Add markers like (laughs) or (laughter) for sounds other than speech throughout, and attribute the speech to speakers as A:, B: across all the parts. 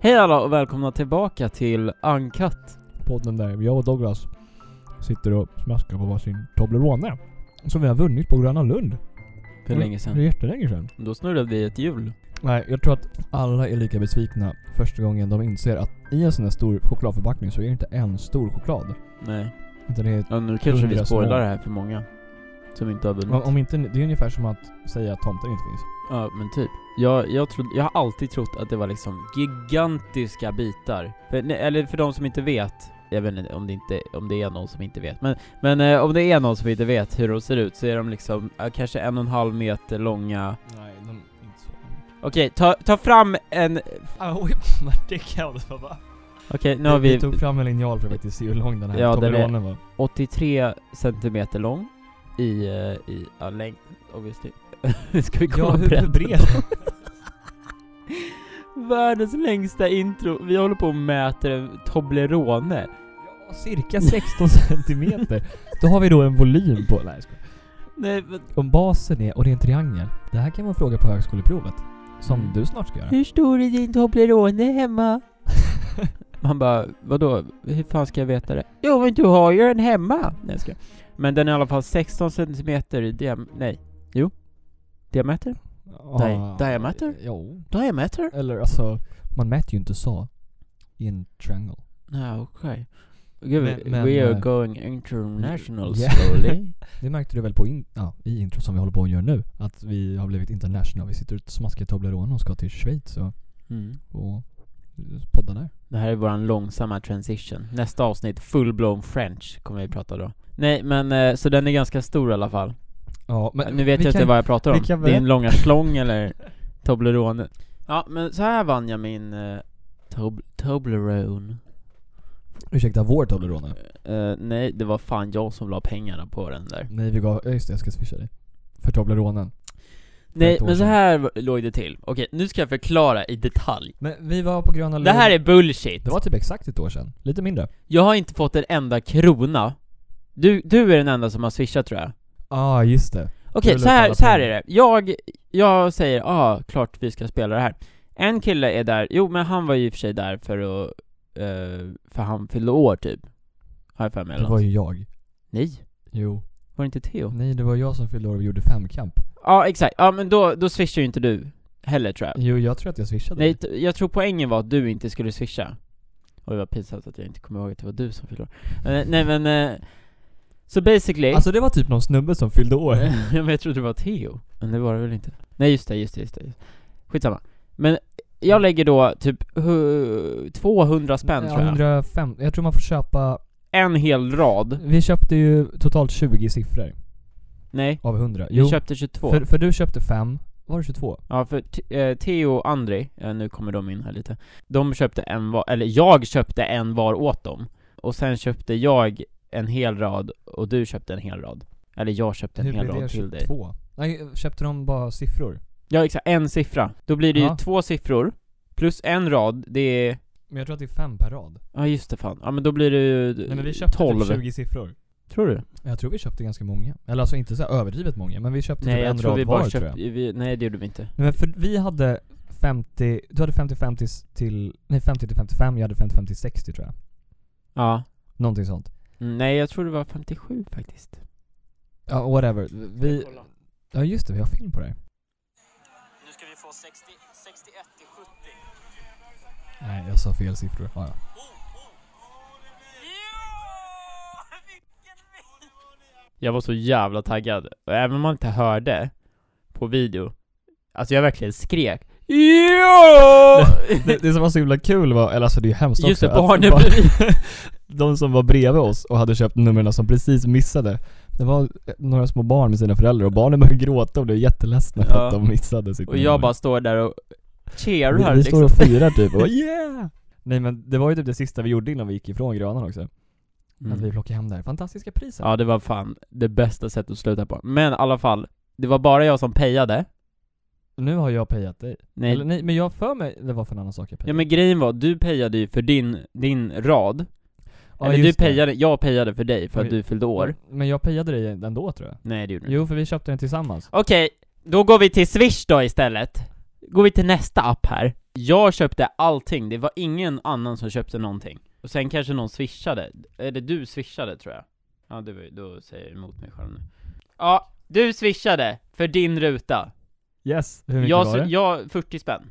A: Hej alla och välkomna tillbaka till Uncut.
B: podden där jag och Douglas sitter och smaskar på varsin Toblerone. Som vi har vunnit på Gröna Lund.
A: För
B: Mm.
A: länge
B: Det är
A: sedan.
B: jättelänge sedan.
A: Då snurrade vi ett hjul.
B: Nej, jag tror att alla är lika besvikna första gången de inser att i en sån här stor chokladförpackning så är det inte en stor choklad.
A: Nej.
B: Utan det är...
A: Ja, nu kanske vi
B: Hundra små.
A: spoilar det här för många. Som inte har
B: Om,
A: vunnit.
B: om inte, det är ungefär som att säga att tomten inte finns.
A: Ja, men typ. Jag, jag, trodde, jag har alltid trott att det var liksom gigantiska bitar. För, nej, eller för de som inte vet, jag vet inte om det, inte, om det är någon som inte vet, men, men eh, om det är någon som inte vet hur de ser ut så är de liksom eh, kanske en och en halv meter långa.
B: Nej, de inte så.
A: Okej, ta, ta fram en... Okej,
B: (laughs) Oh, det kan jag bara.
A: nu har
B: vi,
A: vi
B: tog fram en linjal för att faktiskt se hur lång den här
A: Ja, den är-
B: Tobleronen var.
A: 83 centimeter lång i, eh, i ja, längd, obviously. (laughs) Nu ska vi komma brett. (laughs)
B: (laughs)
A: Världens längsta intro, vi håller på och mäter en Toblerone.
B: Ja, Cirka 16 (laughs) centimeter. Då har vi då en volym på... Nej, jag skojar.
A: Nej, men
B: Om basen är, och det är en triangel. Det här kan man fråga på högskoleprovet. Som
A: Mm.
B: du snart ska göra. (laughs)
A: Hur stor är din Toblerone hemma? Man bara, vadå? Hur fan ska jag veta det? Jo men du har ju den hemma! Nej jag skojar. Men den är i alla fall 16 centimeter i diam... Nej. Jo. Diameter?
B: Ah,
A: diameter?
B: Jo.
A: Diameter?
B: Eller alltså, man mäter ju inte så. I en triangle.
A: Ja, okej. Gud,
B: Men-
A: we-
B: men,
A: we are
B: eh,
A: going international
B: yeah. (laughs)
A: slowly.
B: Det märkte du väl på in, ja, i intro som vi håller på och gör nu? Att vi har blivit international. Vi sitter och smaskar Toblerone och ska till Schweiz och,
A: Mm.
B: och podda där.
A: Det här är våran långsamma transition. Nästa avsnitt, full-blown French, kommer vi prata då. Nej men, eh, så den är ganska stor i alla fall.
B: Ja,
A: nu vet jag inte vad jag pratar
B: vi
A: om.
B: kan
A: Din
B: berätta- (laughs)
A: långa slång eller Toblerone. Ja, men så här vann jag min eh, tob- Toblerone.
B: Ursäkta, vår Toblerone.
A: Eh, nej, det var fan jag som la pengarna på den där.
B: Nej, vi gav... ja, Just det, jag ska swisha dig. För Tobleronen.
A: Nej,
B: ett år
A: men så
B: sedan.
A: här v- låg det till. Okej, nu ska jag förklara i detalj.
B: Men vi var på Gröna Lund.
A: Det här är bullshit.
B: Det var typ exakt ett år sedan. Lite mindre.
A: Jag har inte fått en enda krona. Du, du är den enda som har swishat tror jag.
B: ah, just det.
A: Okej,
B: Du
A: så, här,
B: lutar
A: så här är
B: på-
A: det. Jag, jag säger ah, klart vi ska spela det här. En kille är där, jo men han var ju i och för sig där för att, eh, för han fyllde år typ. Har jag för mig
B: Det
A: eller
B: var
A: något.
B: ju jag.
A: Nej,
B: Jo.
A: var det inte Theo? Ja
B: Nej, det var jag som fyllde år och gjorde femkamp.
A: exakt, ja men då, då swishar ju inte du heller tror jag.
B: Jo, jag tror att jag swishade.
A: Nej, t- jag tror poängen var att du inte skulle swisha. Och det var pinsamt att jag inte kommer ihåg att det var du som fyllde år. Eh, nej men, eh, så basically
B: Alltså det var typ någon snubbe som fyllde år.
A: (laughs) Ja, men jag trodde det var Theo. Men det var det väl inte? Nej just det, just det, just det. Skitsamma. Men jag lägger då typ hu- 200 spänn tror jag.
B: 105. Jag tror man får köpa...
A: En hel rad.
B: Vi köpte ju totalt 20 siffror
A: Nej,
B: av 100.
A: vi köpte 22.
B: för, för du köpte fem. Var det 22?
A: Ja, för T- eh, Theo och Andri, eh, nu kommer de in här lite. De köpte en var, eller jag köpte en var åt dem. Och sen köpte jag en hel rad och du köpte en hel rad. Eller jag köpte en hel rad till dig.
B: Två? Nej, köpte de bara siffror?
A: Ja exakt, en siffra. Då blir det ju
B: Ja.
A: två siffror, plus en rad, det är
B: Men jag tror att det är fem per rad.
A: Ja just det fan, ja men då blir det ju
B: Nej men vi köpte
A: 12
B: typ 20 siffror.
A: Tror du?
B: Jag tror Typ vi köpte ganska många. Eller alltså inte så här överdrivet många, men vi köpte
A: Nej
B: typ en
A: jag tror
B: rad
A: vi bara
B: var tror
A: köpte,
B: jag.
A: vi, nej det gjorde vi inte
B: Nej men för vi hade 50, du hade 50-50 s- till, nej 50 till 55, jag hade 50-50 till 60 tror jag.
A: Ja
B: Någonting sånt.
A: Mm, Nej jag tror det var 57 faktiskt
B: Ja, whatever. Vi, ja just det, vi har film på det här.
A: Nu ska vi få 60, 61 till Oh, 70
B: Nej, jag sa fel siffror. Ja, ja.
A: oh, Jag var så jävla taggad, och även om man inte hörde på video Alltså jag verkligen skrek Jo!
B: (laughs) Det, det som var så himla kul var, eller alltså det är ju hemskt
A: Just det,
B: också, att
A: barnen
B: bara-
A: blir...
B: de som var bredvid oss och hade köpt numren som precis missade. Det var eh, några små barn med sina föräldrar och barnen började gråta och blev jätteledsna för
A: Ja.
B: att de missade sitt
A: Och jag
B: nummer.
A: bara står där och
B: Vi,
A: cheerar
B: vi står och
A: liksom.
B: firar typ
A: (laughs)
B: och bara, yeah! Nej men det var ju typ det sista vi gjorde innan vi gick ifrån Grönan också. Att vi
A: Mm.
B: plockade hem det här fantastiska priset.
A: Ja det var fan det bästa sättet att sluta på. Men i alla fall, det var bara jag som pejade.
B: Nu har jag pejat dig.
A: Nej.
B: Eller nej, men jag har för mig det var för en annan sak jag pejade.
A: Ja men grejen var, du pejade ju för din, din rad.
B: Ja,
A: Eller du
B: just det.
A: pejade, jag pejade för dig för att
B: Oj.
A: du fyllde år.
B: Men jag pejade dig ändå tror jag.
A: Nej det gjorde du inte.
B: Jo, för vi köpte den tillsammans.
A: Okej, då går vi till Swish då istället. går vi till nästa app här. Jag köpte allting, det var ingen annan som köpte någonting. Och sen kanske någon swishade. Eller du swishade tror jag. Ja, det var, då säger jag emot mig själv nu. Ja, du swishade för din ruta.
B: Yes, hur mycket
A: Jag,
B: var det?
A: sw- jag 40 spänn.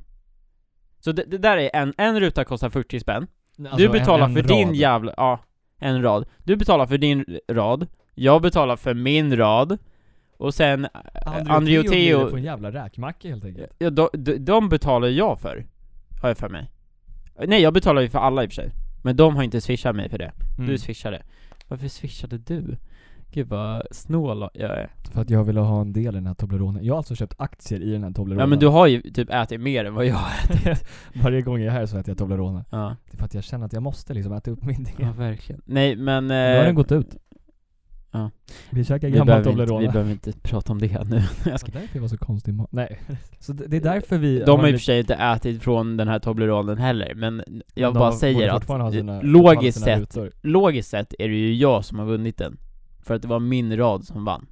A: Så det, det där är en, en ruta kostar 40 spänn.
B: Alltså,
A: du betalar
B: en-
A: för
B: en
A: din
B: rad.
A: jävla, ja, en rad. Du betalar för din rad, jag betalar för min rad, och sen, Andreo
B: Andreo
A: Teo-
B: bjuder på en jävla räkmacka helt enkelt.
A: ja, de, de, de betalar jag för, har jag för mig. Nej, jag betalar ju för alla i och för sig. Men de har inte swishat mig för det.
B: Mm.
A: Du swishade. Varför swishade du? Gud vad snål jag är.
B: För att jag ville ha en del i den här Toblerone. Jag har alltså köpt aktier i den här Toblerone.
A: Ja men du har ju typ ätit mer än vad jag har
B: Varje gång jag är här så äter jag Toblerone.
A: ja.
B: Det är för att jag känner att jag måste liksom äta upp min del.
A: ja, verkligen. Nej men...
B: Nu har den gått ut.
A: ja.
B: Vi käkar
A: vi,
B: gammal
A: behöver inte,
B: Toblerone.
A: vi behöver inte prata om det nu. (laughs) Jag ska
B: Det var därför jag var så konstig i ma- Nej. Så det det är därför vi...
A: De har
B: har
A: i och
B: lite-
A: för sig inte ätit från den här Tobleronen heller, men jag
B: de
A: bara
B: borde
A: säger att
B: fortfarande ha sina-
A: eh,
B: fortfarande ha
A: logiskt
B: sina
A: sett,
B: rutor.
A: logiskt sett är det ju jag som har vunnit den. För att det var min rad som vann.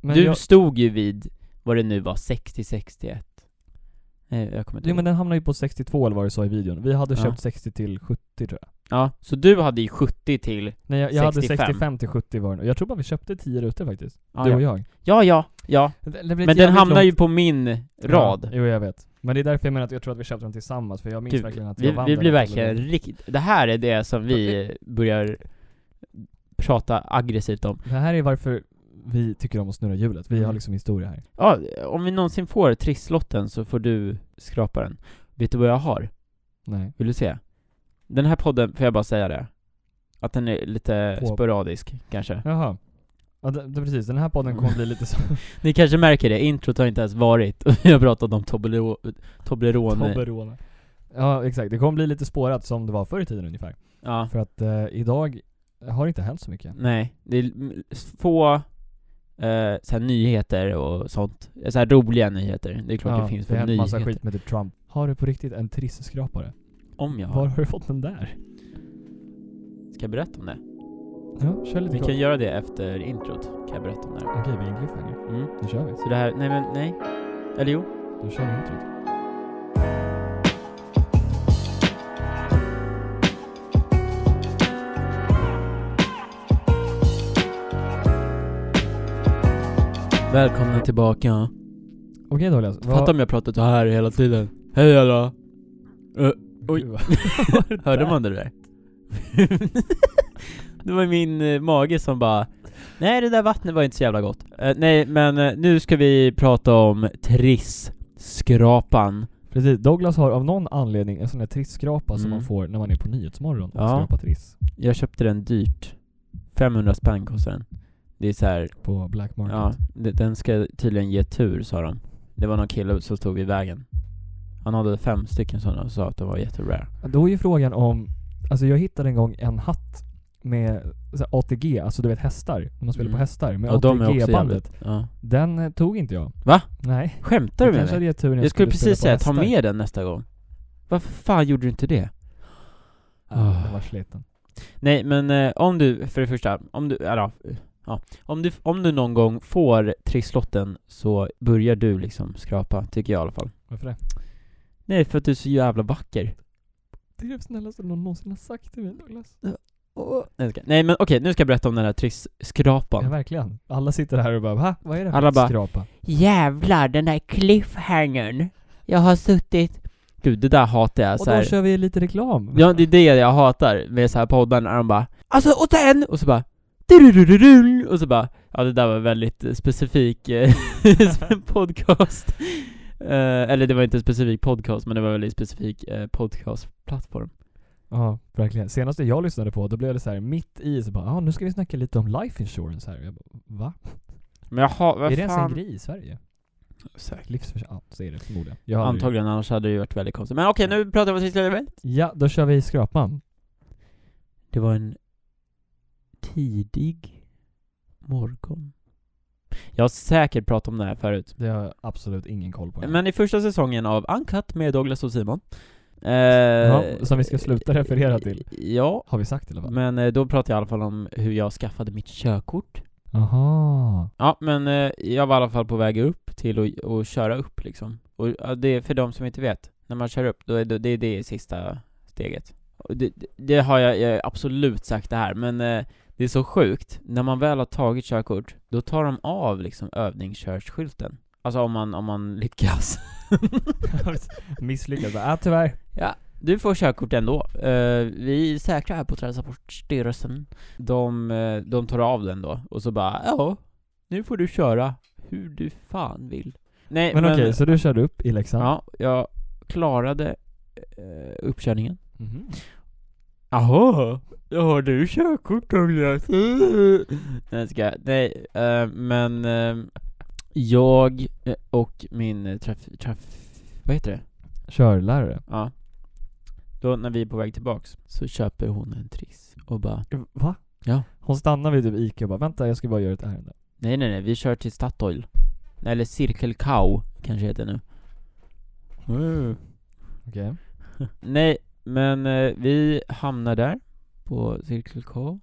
B: Men
A: du
B: jag,
A: stod ju vid, vad det nu var, 60-61. Nej, jag kommer inte
B: jo
A: ihåg.
B: men den hamnade ju på 62 eller vad du sa i videon. Vi hade
A: Ja.
B: köpt 60 till 70 tror jag.
A: Ja, så du hade ju 70 till...
B: Nej jag, jag hade
A: 65.
B: 65 till 70 var det nog. Jag tror bara vi köpte 10 rutor faktiskt.
A: Ja,
B: du och
A: ja.
B: jag.
A: ja, ja, ja.
B: Det- det blir ett
A: Men den
B: jävligt
A: hamnar
B: långt-
A: ju på min rad.
B: Ja, jo jag vet. Men det är därför jag menar att jag tror att vi köpte dem tillsammans, för jag minns
A: Gud,
B: verkligen att jag
A: Typ, vi,
B: vann
A: vi
B: den
A: blir
B: här tävlingen.
A: verkligen riktigt... Det här är det som vi börjar prata aggressivt om.
B: Det här är varför vi tycker om att snurra hjulet.
A: Mm.
B: Vi har liksom historia här.
A: Ja, om vi någonsin får trisslotten så får du skrapa den. Vet du vad jag har? (laughs)
B: Nej.
A: Vill du se? Den här podden, får jag bara säga det? Att den är lite
B: På-
A: sporadisk, kanske.
B: Jaha. Ja, det, det, precis. Den här podden kommer
A: (laughs)
B: bli lite så...
A: Ni kanske märker det, introt har inte ens varit (laughs) och vi har pratat om Toblerone... Toblerone.
B: Toblerone. Ja, exakt. Det kommer bli lite spårat som det var förr i tiden ungefär.
A: Ja.
B: För att eh, idag har det inte hänt så mycket.
A: Nej, det är m- få eh, så här nyheter och sånt. Så här roliga nyheter. Det är klart
B: Ja,
A: det finns
B: det
A: väl
B: har hänt massa
A: nyheter.
B: skit med typ Trump. Har du på riktigt en trisskrapare?
A: Om jag
B: Var
A: har.
B: har du fått den där?
A: Ska jag berätta om det?
B: Ja, kör lite
A: Vi
B: kort.
A: kan göra det efter introt, kan jag berätta om det. här.
B: Okej, vi är en cliffhanger.
A: Mm.
B: Nu kör vi.
A: Så det här, nej men nej. Eller jo.
B: Då kör vi introt.
A: Välkomna tillbaka.
B: Okej Dahlias. vad-
A: Fatta om jag pratat så här hela tiden. Hej alla. oj.
B: Gud, vad- (laughs)
A: (laughs) Hörde man det där? det var min eh, mage som bara Nej det där vattnet var inte så jävla gott. Eh, nej men eh, nu ska vi prata om Triss-skrapan.
B: Precis, Douglas har av någon anledning en sån där trisskrapa som
A: Mm.
B: man får när man är på Nyhetsmorgon och
A: Ja.
B: skrapar triss
A: Jag köpte den dyrt. 500 spänn kostar den. Det är så här,
B: på Black Market.
A: ja, d- den ska tydligen ge tur sa de. Det var någon kille som stod vid vägen. Han hade fem stycken sådana och sa att de var jätterare.
B: Då är ju frågan om, alltså jag hittade en gång en hatt med så här ATG, alltså du vet hästar, när man spelar
A: Mm.
B: på hästar med
A: Ja, de är också
B: ATG-bandet.
A: jävligt. Ja.
B: Den eh, tog inte jag.
A: Va?
B: Nej.
A: Skämtar du
B: Jag
A: med
B: kanske
A: mig?
B: hade gett tur när
A: Jag skulle
B: spela
A: precis
B: på
A: säga, ta
B: hästar.
A: med den nästa gång. Varför fan gjorde du inte det?
B: Ja,
A: Ah.
B: Den var sliten.
A: Nej men eh, om du, för det första, om du, eller, ja, ja, om du, om du någon gång får trisslotten så börjar du liksom skrapa, tycker jag i alla fall.
B: Varför det?
A: Nej, för att du är så jävla vacker.
B: Det är det snällaste någon någonsin har sagt till mig Douglas.
A: Nej, jag ska- Nej men okej, nu ska jag berätta om den här
B: Ja,
A: trisskrapan.
B: verkligen. Alla sitter här och bara va? Vad är det
A: Alla
B: för
A: bara,
B: skrapa?
A: Jävlar, den här cliffhangern. Jag har suttit... Gud, det där hatar jag.
B: Och
A: så
B: då
A: här.
B: kör vi lite reklam.
A: Ja, det är det jag hatar med så här poddar när de bara Alltså och sen! Och så bara "Dururururul", och så bara, ja det där var väldigt eh, specifik eh, (laughs) podcast. Eh, eller det var inte en specifik podcast, men det var en väldigt specifik eh, podcastplattform.
B: Ja, verkligen. Senaste jag lyssnade på, då blev det så här mitt i så bara, ja ah, nu ska vi snacka lite om life insurance här. Jag bara, va?
A: Men jaha, vad
B: är det ens en
A: fan?
B: grej i Sverige? Livsförs... Ja, så är det förmodligen. Jag har aldrig-
A: Antagligen, annars hade det ju varit väldigt konstigt. Men okej, nu pratar vi om sista event.
B: Ja, då kör vi skrapan.
A: Det var en tidig morgon. Jag har säkert pratat om det här förut.
B: Det har jag absolut ingen koll på.
A: Men i första säsongen av Uncut med Douglas och Simon eh,
B: ja, som vi ska sluta referera till.
A: Ja,
B: Har vi sagt i alla fall.
A: men eh, då pratar jag i alla fall om hur jag skaffade mitt körkort
B: Aha.
A: Ja, men eh, jag var i alla fall på väg upp till att, att köra upp liksom. Och ja, det är för de som inte vet, när man kör upp, då är det, det, är det sista steget. Och det, det- det har jag, jag har absolut sagt det här, men eh, det är så sjukt, när man väl har tagit körkort, då tar de av liksom övningskörskylten. Alltså om man, om man lyckas. (laughs)
B: Misslyckad bara, ah, tyvärr.
A: Ja, du får körkort ändå. Eh, vi är säkra här på Transportstyrelsen. De, eh, de tar av den då, och så bara ja, nu får du köra hur du fan vill. Nej
B: Men, okej, så du körde upp i Leksand?
A: Ja, jag klarade eh, uppkörningen.
B: Mhm.
A: Jaha, då har du körkort Douglas? (laughs) Nej jag skojar. nej, eh, men eh, jag eh, och min eh, traf, traf, vad heter det?
B: Körlärare?
A: Ja. Då när vi är på väg tillbaks så köper hon en Triss och bara
B: Va?
A: Ja.
B: Hon stannar vid typ Ica och bara, vänta jag ska bara göra ett ärende.
A: Nej nej nej, vi kör till Statoil. Eller Cirkel K kanske heter det nu. Mm.
B: Okej.
A: Nej, men eh, vi hamnar där på Cirkel K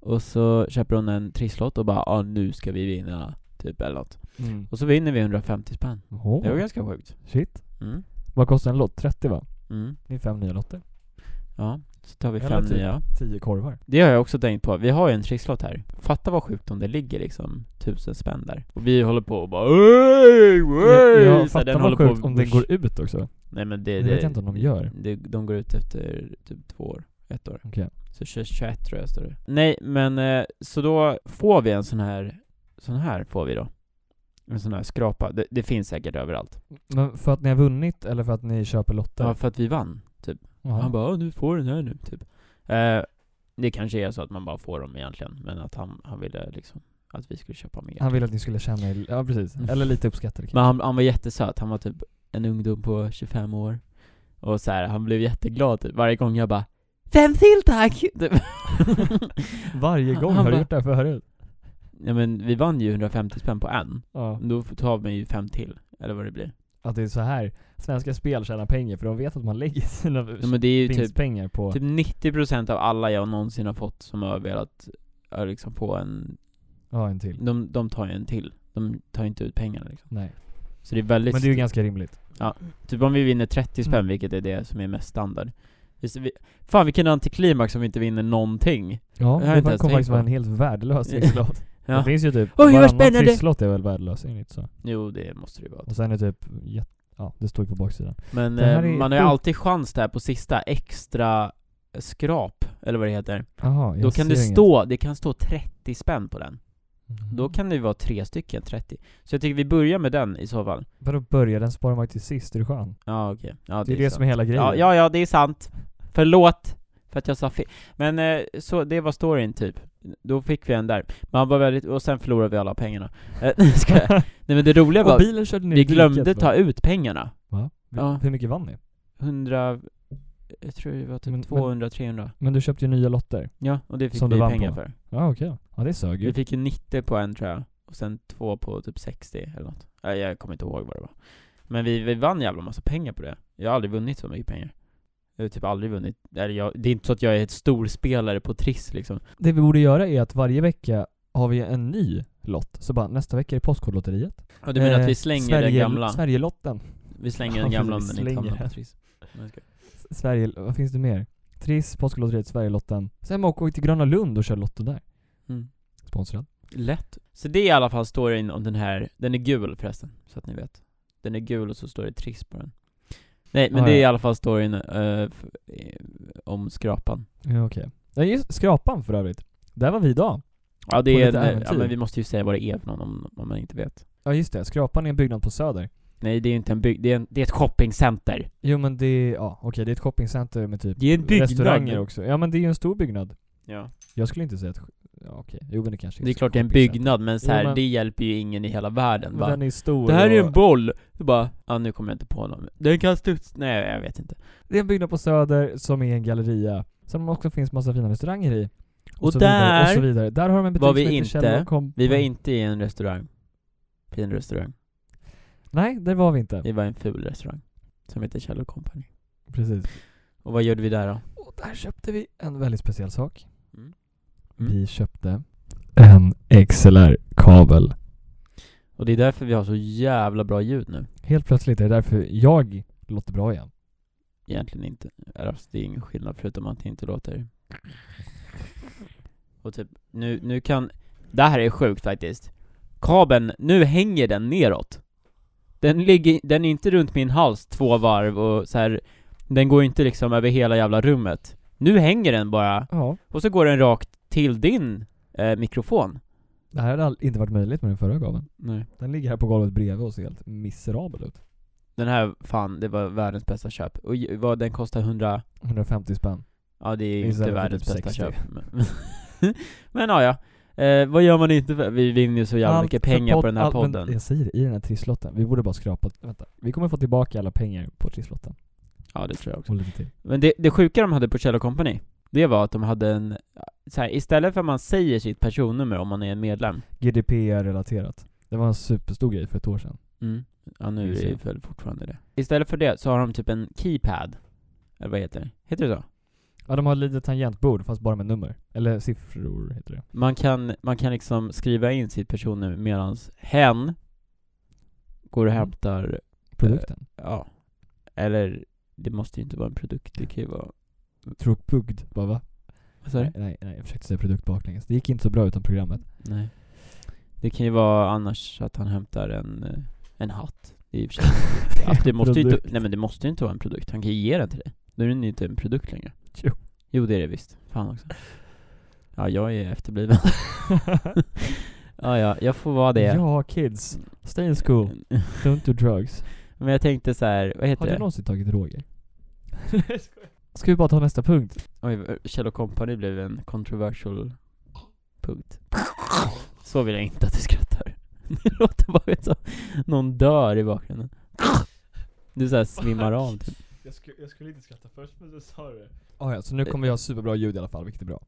A: och så köper hon en trisslott och bara ah, nu ska vi vinna, typ eller något.
B: Mm.
A: Och så vinner vi 150 spänn. Det var ganska sjukt.
B: Shit.
A: Mm.
B: Vad kostar en lott? 30 va?
A: Mm.
B: Det är fem nya lotter.
A: Ja, så tar vi
B: Eller
A: fem
B: typ.
A: nya.
B: 10 korvar.
A: Det har jag också tänkt på. Vi har ju en trisslott här. Fatta vad sjukt om det ligger liksom tusen spänn där. Och vi håller på och bara "Ey, ey",
B: Jag,
A: så här,
B: jag fattar
A: håller
B: vad
A: på
B: sjukt
A: och-
B: om den går ut också.
A: Nej men det,
B: Det
A: det
B: vet jag inte om de gör.
A: Det, de går ut efter typ två år, ett år.
B: Okej.
A: Så 21 tror jag står det. Nej, men eh, så då får vi en sån här, sån här får vi då. En sån här skrapa. Det, det finns säkert överallt.
B: Men för att ni har vunnit eller för att ni köper lotter?
A: Ja, för att vi vann, typ.
B: Jaha.
A: Han bara "Ja, du får den här nu, typ. Eh, det kanske är så att man bara får dem egentligen, men att han, han ville liksom att vi skulle köpa mer.
B: Han ville att ni skulle känna er, ja precis.
A: Mm.
B: Eller lite uppskattade kanske.
A: Men han, han var jättesöt, han var typ en ungdom på 25 år. Och så här, han blev jätteglad typ. varje gång jag bara Fem till tack! (laughs) Typ.
B: Varje
A: Han-
B: gång
A: han
B: har du
A: bara-
B: gjort det här förut?
A: ja men vi vann ju 150 spänn på en.
B: Ja.
A: Då tar man ju fem till, eller vad det blir.
B: Att det är så här Svenska Spel tjänar pengar för de vet att man lägger sina
A: Ja, men det är ju typ,
B: vinstpengar på...
A: typ 90% av alla jag någonsin har fått som har velat ja, liksom få en,
B: Ja, en till.
A: de, de tar ju en till. De tar ju inte ut pengarna liksom.
B: Nej.
A: Så det är väldigt,
B: Men det är ju ganska rimligt.
A: typ om vi vinner 30 spänn,
B: Mm.
A: vilket är det som är mest standard. Visst, vi, fan vilken antiklimax om vi inte vinner någonting.
B: Ja,
A: inte
B: det
A: ens
B: kommer
A: tänkt
B: faktiskt
A: på.
B: vara en helt
A: (laughs)
B: värdelös trisslott. Det
A: Ja.
B: finns ju typ,
A: Oj, vad
B: varannan
A: spännande!
B: trisslott är väl värdelös, är det inte så?
A: Jo, det måste det ju vara.
B: Och sen är typ, jätt- ja det står ju på baksidan.
A: Men
B: Det här
A: eh,
B: är
A: man har ju
B: sjukt.
A: alltid chans där på sista extra skrap, eller vad det heter.
B: Jaha, jag
A: Då kan
B: ser
A: det
B: inget.
A: stå, det kan stå 30 spänn på den.
B: Mhm.
A: Då kan det ju vara tre stycken 30. Så jag tycker vi börjar med den i så fall.
B: Vadå börja? Den sparar man ju till sist, är du skön?
A: Ja okej. Ja,
B: Det är det
A: sant.
B: som är hela grejen.
A: ja, ja, ja, det är sant. Förlåt för att jag sa fel. Men eh, så, det var storyn typ. Då fick vi en där. Man var väldigt, och sen förlorade vi alla pengarna. Eh, (laughs) nej, ska jag.
B: (laughs)
A: Nej men det roliga
B: Och
A: var,
B: bilen körde ner i
A: vi
B: diket,
A: glömde
B: va?
A: ta ut pengarna.
B: Va? Vi-
A: Ja.
B: Hur mycket vann ni?
A: 100, jag tror det var typ
B: Men- men-
A: 200, 300.
B: Men du köpte ju nya lotter.
A: Ja, och det fick
B: Som du
A: vi
B: vann
A: pengar
B: på.
A: för.
B: Ja okej. Ja det sög
A: Vi
B: ju.
A: fick ju 90 på en tror jag, och sen två på typ 60 eller något. Nej, Jag kommer inte ihåg vad det var. Men vi, vi vann jävla massa pengar på det. Jag har aldrig vunnit så mycket pengar. Jag har typ aldrig vunnit, eller jag, det är inte så att jag är ett storspelare på Triss liksom.
B: Det vi borde göra är att varje vecka har vi en ny lott. Så bara nästa vecka är det Postkodlotteriet.
A: Ja, du menar
B: Eh,
A: att vi slänger den
B: Sverige-
A: gamla?
B: Sverigelotten.
A: Vi slänger
B: Ja,
A: den gamla om
B: precis,
A: den inte hamnar
B: slänger.
A: på Triss. Nej, jag skojar.
B: S- Sverige... Vad finns det mer? Triss, Postkodlotteriet, Sverigelotten. Sen åker vi till Gröna Lund och kör lotto där.
A: Mm.
B: Sponsrad.
A: Lätt. Så det är i alla fall storyn om den här, den är gul förresten, så att ni vet. Den är gul och så står det Triss på den. Nej, men
B: Ah,
A: det är
B: ja.
A: i alla fall storyn eh, f- eh, om skrapan.
B: Ja okej. Ja just Skrapan för övrigt. Där var vi idag.
A: Ja
B: På
A: det är,
B: lite
A: en, eh, ja,
B: äventyr.
A: men vi måste ju säga vad det är för någon om, om man inte vet
B: Ja just det, Skrapan är en byggnad på Söder.
A: Nej det är inte en bygg, det är, en, det är ett shoppingcenter
B: Jo men det är, ja okej det är ett shoppingcenter med typ
A: Det är en byggnad.
B: restauranger också. Ja men det är ju en stor byggnad.
A: Ja
B: Jag skulle inte säga att, ja okej, jo men det kanske
A: Det är
B: så
A: klart det är en
B: shoppingcenter.
A: byggnad men så här,
B: Jo, men-
A: det hjälper ju ingen i hela världen
B: Men
A: va?
B: den är stor
A: Det här är ju
B: och-
A: en boll! Du bara, ja nu kommer jag inte på någon Den kan studsa, nej jag vet inte
B: Det är en byggnad på Söder som är en galleria. Som också finns massa fina restauranger i.
A: Och,
B: så vidare, och så
A: där,
B: vidare. Där har de en butik
A: var vi
B: som heter
A: inte.
B: Kjell och Kom-
A: vi var inte i en restaurang Fin restaurang,
B: Nej, där var vi inte.
A: vi var i en ful restaurang Som heter Kjell Company
B: Precis.
A: Och vad gjorde vi där då?
B: Och där köpte vi en väldigt speciell sak.
A: Mm.
B: Vi köpte en XLR-kabel.
A: Och det är därför vi har så jävla bra ljud nu.
B: Helt plötsligt är det därför jag låter bra igen.
A: Egentligen inte. Alltså, det är ingen skillnad förutom att det inte låter... Och typ, nu, nu kan... Det här är sjukt faktiskt. Kabeln, nu hänger den neråt. Den ligger, den är inte runt min hals två varv och så här. Den går ju inte liksom över hela jävla rummet. Nu hänger den bara,
B: Ja.
A: och så går den rakt till din eh, mikrofon.
B: Det här hade all- inte varit möjligt med den förra kabeln.
A: Nej.
B: Den ligger här på golvet bredvid och ser helt miserabel ut.
A: Den här, fan, det var världens bästa köp. Och ju- vad den kostar 100...
B: 150 spänn.
A: Ja det är ju
B: Istället
A: inte
B: för
A: världens
B: typ
A: bästa
B: 60.
A: köp Men, men (laughs) ja, ja. Eh, vad gör man inte för, vi vinner ju så jävla
B: Allt
A: mycket
B: för
A: pengar
B: podd-
A: på den här
B: allt- men
A: podden
B: Jag säger det, i den här trisslotten. Vi borde bara skrapa... Vänta. Vi kommer få tillbaka alla pengar på trisslotten.
A: Ja det tror jag också
B: Och lite till.
A: Men det, det sjuka de hade på Kjell Company Det var att de hade en, så här, istället för att man säger sitt personnummer om man är en medlem
B: GDPR-relaterat. Det var en superstor grej för ett år sedan.
A: mm. Ja nu
B: Just
A: är det
B: det.
A: väl fortfarande det Istället för det så har de typ en keypad Eller vad heter det? Heter det så?
B: Ja, de har ett litet tangentbord fast bara med nummer. Eller siffror heter det.
A: Man kan, man kan liksom skriva in sitt personnummer medans hen går
B: Mm.
A: och hämtar
B: Produkten.
A: Ja. Eller, det måste ju inte vara en produkt, det kan ju vara... Eh,
B: Tråkbugd. Bara va?
A: Vad sa du?
B: Nej, nej, nej, jag försökte säga produkt baklänges. Det gick inte så bra utan programmet.
A: Nej. Det kan ju vara annars att han hämtar en, eh, en hatt. Det är i och för sig
B: (laughs)
A: alltså, (laughs) det måste ju inte,
B: Produkt.
A: Nej men det måste ju inte vara en produkt, han kan ju ge den till dig. Då är den ju inte en produkt längre.
B: Jo.
A: Jo det är det visst. Fan
B: (laughs)
A: också. Ja, jag är efterbliven. (laughs) ja, ja, jag får vara det.
B: Ja, kids. Stay in school. Don't do drugs.
A: Men jag tänkte så här, vad heter
B: Har du
A: det?
B: någonsin tagit
A: (laughs)
B: droger? Ska vi bara ta nästa punkt?
A: Oj, eh, Kjell Company blev en controversial punkt. Så vill jag inte att du skrattar. (laughs) Det låter bara som någon dör i bakgrunden. Du såhär svimmar av typ.
B: Jag skulle, inte skratta först men så sa du det. Ah, ja, så nu kommer
A: kommer
B: jag ha superbra ljud i alla fall, vilket är bra.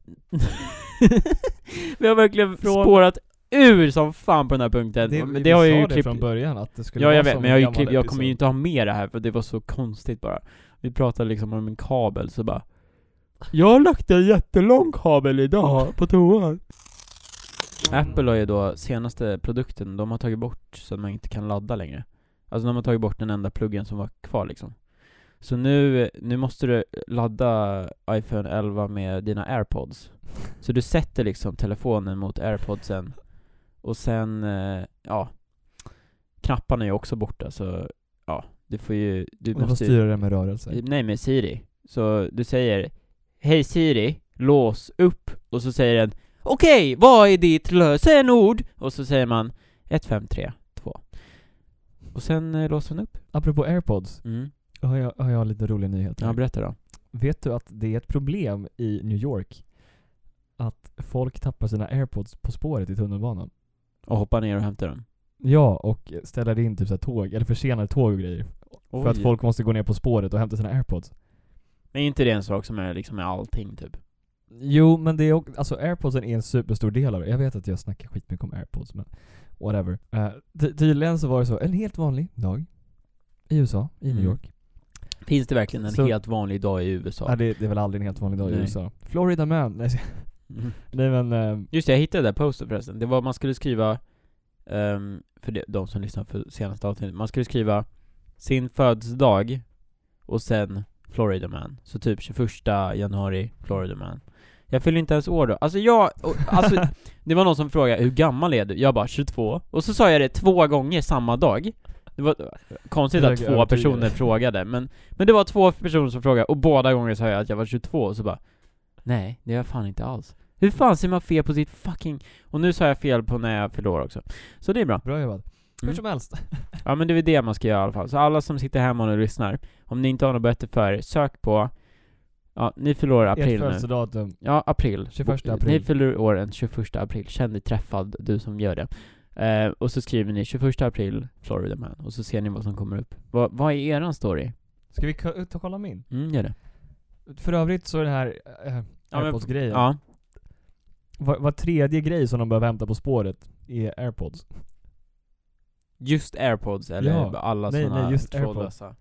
A: Vi har verkligen
B: Från-
A: spårat ur som fan på den här punkten. Det, men det har jag ju
B: det
A: klippt.
B: från början att det skulle
A: Ja
B: vara
A: jag vet,
B: som
A: men jag, har ju
B: en
A: klipp,
B: gammal
A: jag kommer ju
B: episod.
A: inte ha med det här för det var så konstigt bara. Vi pratade liksom om en kabel så bara Jag har lagt en jättelång kabel idag på toan. Apple har ju då senaste produkten, de har tagit bort så att man inte kan ladda längre. Alltså de har tagit bort den enda pluggen som var kvar liksom. Så nu, nu måste du ladda iPhone 11 med dina airpods. Så du sätter liksom telefonen mot airpodsen och sen, eh, ja, knapparna är ju också borta så, ja, du får ju, du
B: Du får
A: måste
B: styra det med rörelser.
A: Nej med Siri. Så du säger Hej Siri, lås upp. Och så säger den Okej, vad är ditt lösenord? Och så säger man 1532. Och sen eh, låser den upp.
B: Apropå airpods,
A: Mm.
B: har jag, har jag lite roliga nyheter.
A: Ja, berätta då.
B: Vet du att det är ett problem i New York? Att folk tappar sina airpods på spåret i tunnelbanan.
A: Och hoppa ner och hämta den.
B: Ja, och ställer in typ så här tåg, eller försenar tåg och grejer. För att folk måste gå ner på spåret och hämta sina airpods.
A: Men är inte det en sak som är liksom med allting typ?
B: Jo, men det är också, alltså airpodsen är en superstor del av det. Jag vet att jag snackar skitmycket om airpods, men whatever. Eh, ty- tydligen så var det så, en helt vanlig dag i USA, i New
A: Mm.
B: York.
A: Finns det verkligen en
B: Så-
A: helt vanlig dag i USA?
B: Nej, det, det är väl aldrig en helt vanlig dag i
A: Nej.
B: USA. Florida man. Nej, så-
A: Mm.
B: nej men, eh,
A: Just det, jag hittade det där poster förresten. Det var, man skulle skriva, ehm, för de, de som lyssnar för senaste avsnittet, man skulle skriva sin födelsedag och sen Florida man. Så typ 21 januari, Florida man. Jag fyller inte ens år då. Alltså jag, och, alltså det var någon som frågade hur gammal är du? Jag bara 22. Och så sa jag det två gånger samma dag. Det var konstigt
B: Jag
A: att
B: är
A: två
B: övertygad.
A: personer frågade, men, men det var två personer som frågade och båda gånger sa jag att jag var 22 och så bara Nej, det är jag fan inte alls. Hur fan ser man fel på sitt fucking... Och nu sa jag fel på när jag fyllde år också. Så det är bra.
B: bra jobbat. Hur
A: Mm.
B: som helst.
A: Ja men det är väl det man ska göra i alla fall. Så alla som sitter hemma och lyssnar, om ni inte har något bättre för er, sök på... Ja, ni fyller år i
B: Ert
A: april nu.
B: födelsedatum.
A: Ja, april.
B: 21
A: Bo-
B: april.
A: Ni fyller år den 21 april. Känn dig träffad, du som gör det. Eh, och så skriver ni 21 april, Florida man. Och så ser ni vad som kommer upp. Va, vad är eran story?
B: Ska vi ko- ut och kolla min?
A: Mm, gör det.
B: För övrigt så är det här eh,
A: Ja, men-
B: airpods-grejen.
A: Ja.
B: Var, var tredje grej som de behöver hämta på spåret är airpods.
A: Just airpods eller
B: Ja.
A: alla
B: Nej,
A: såna
B: nej, just
A: trådlösa?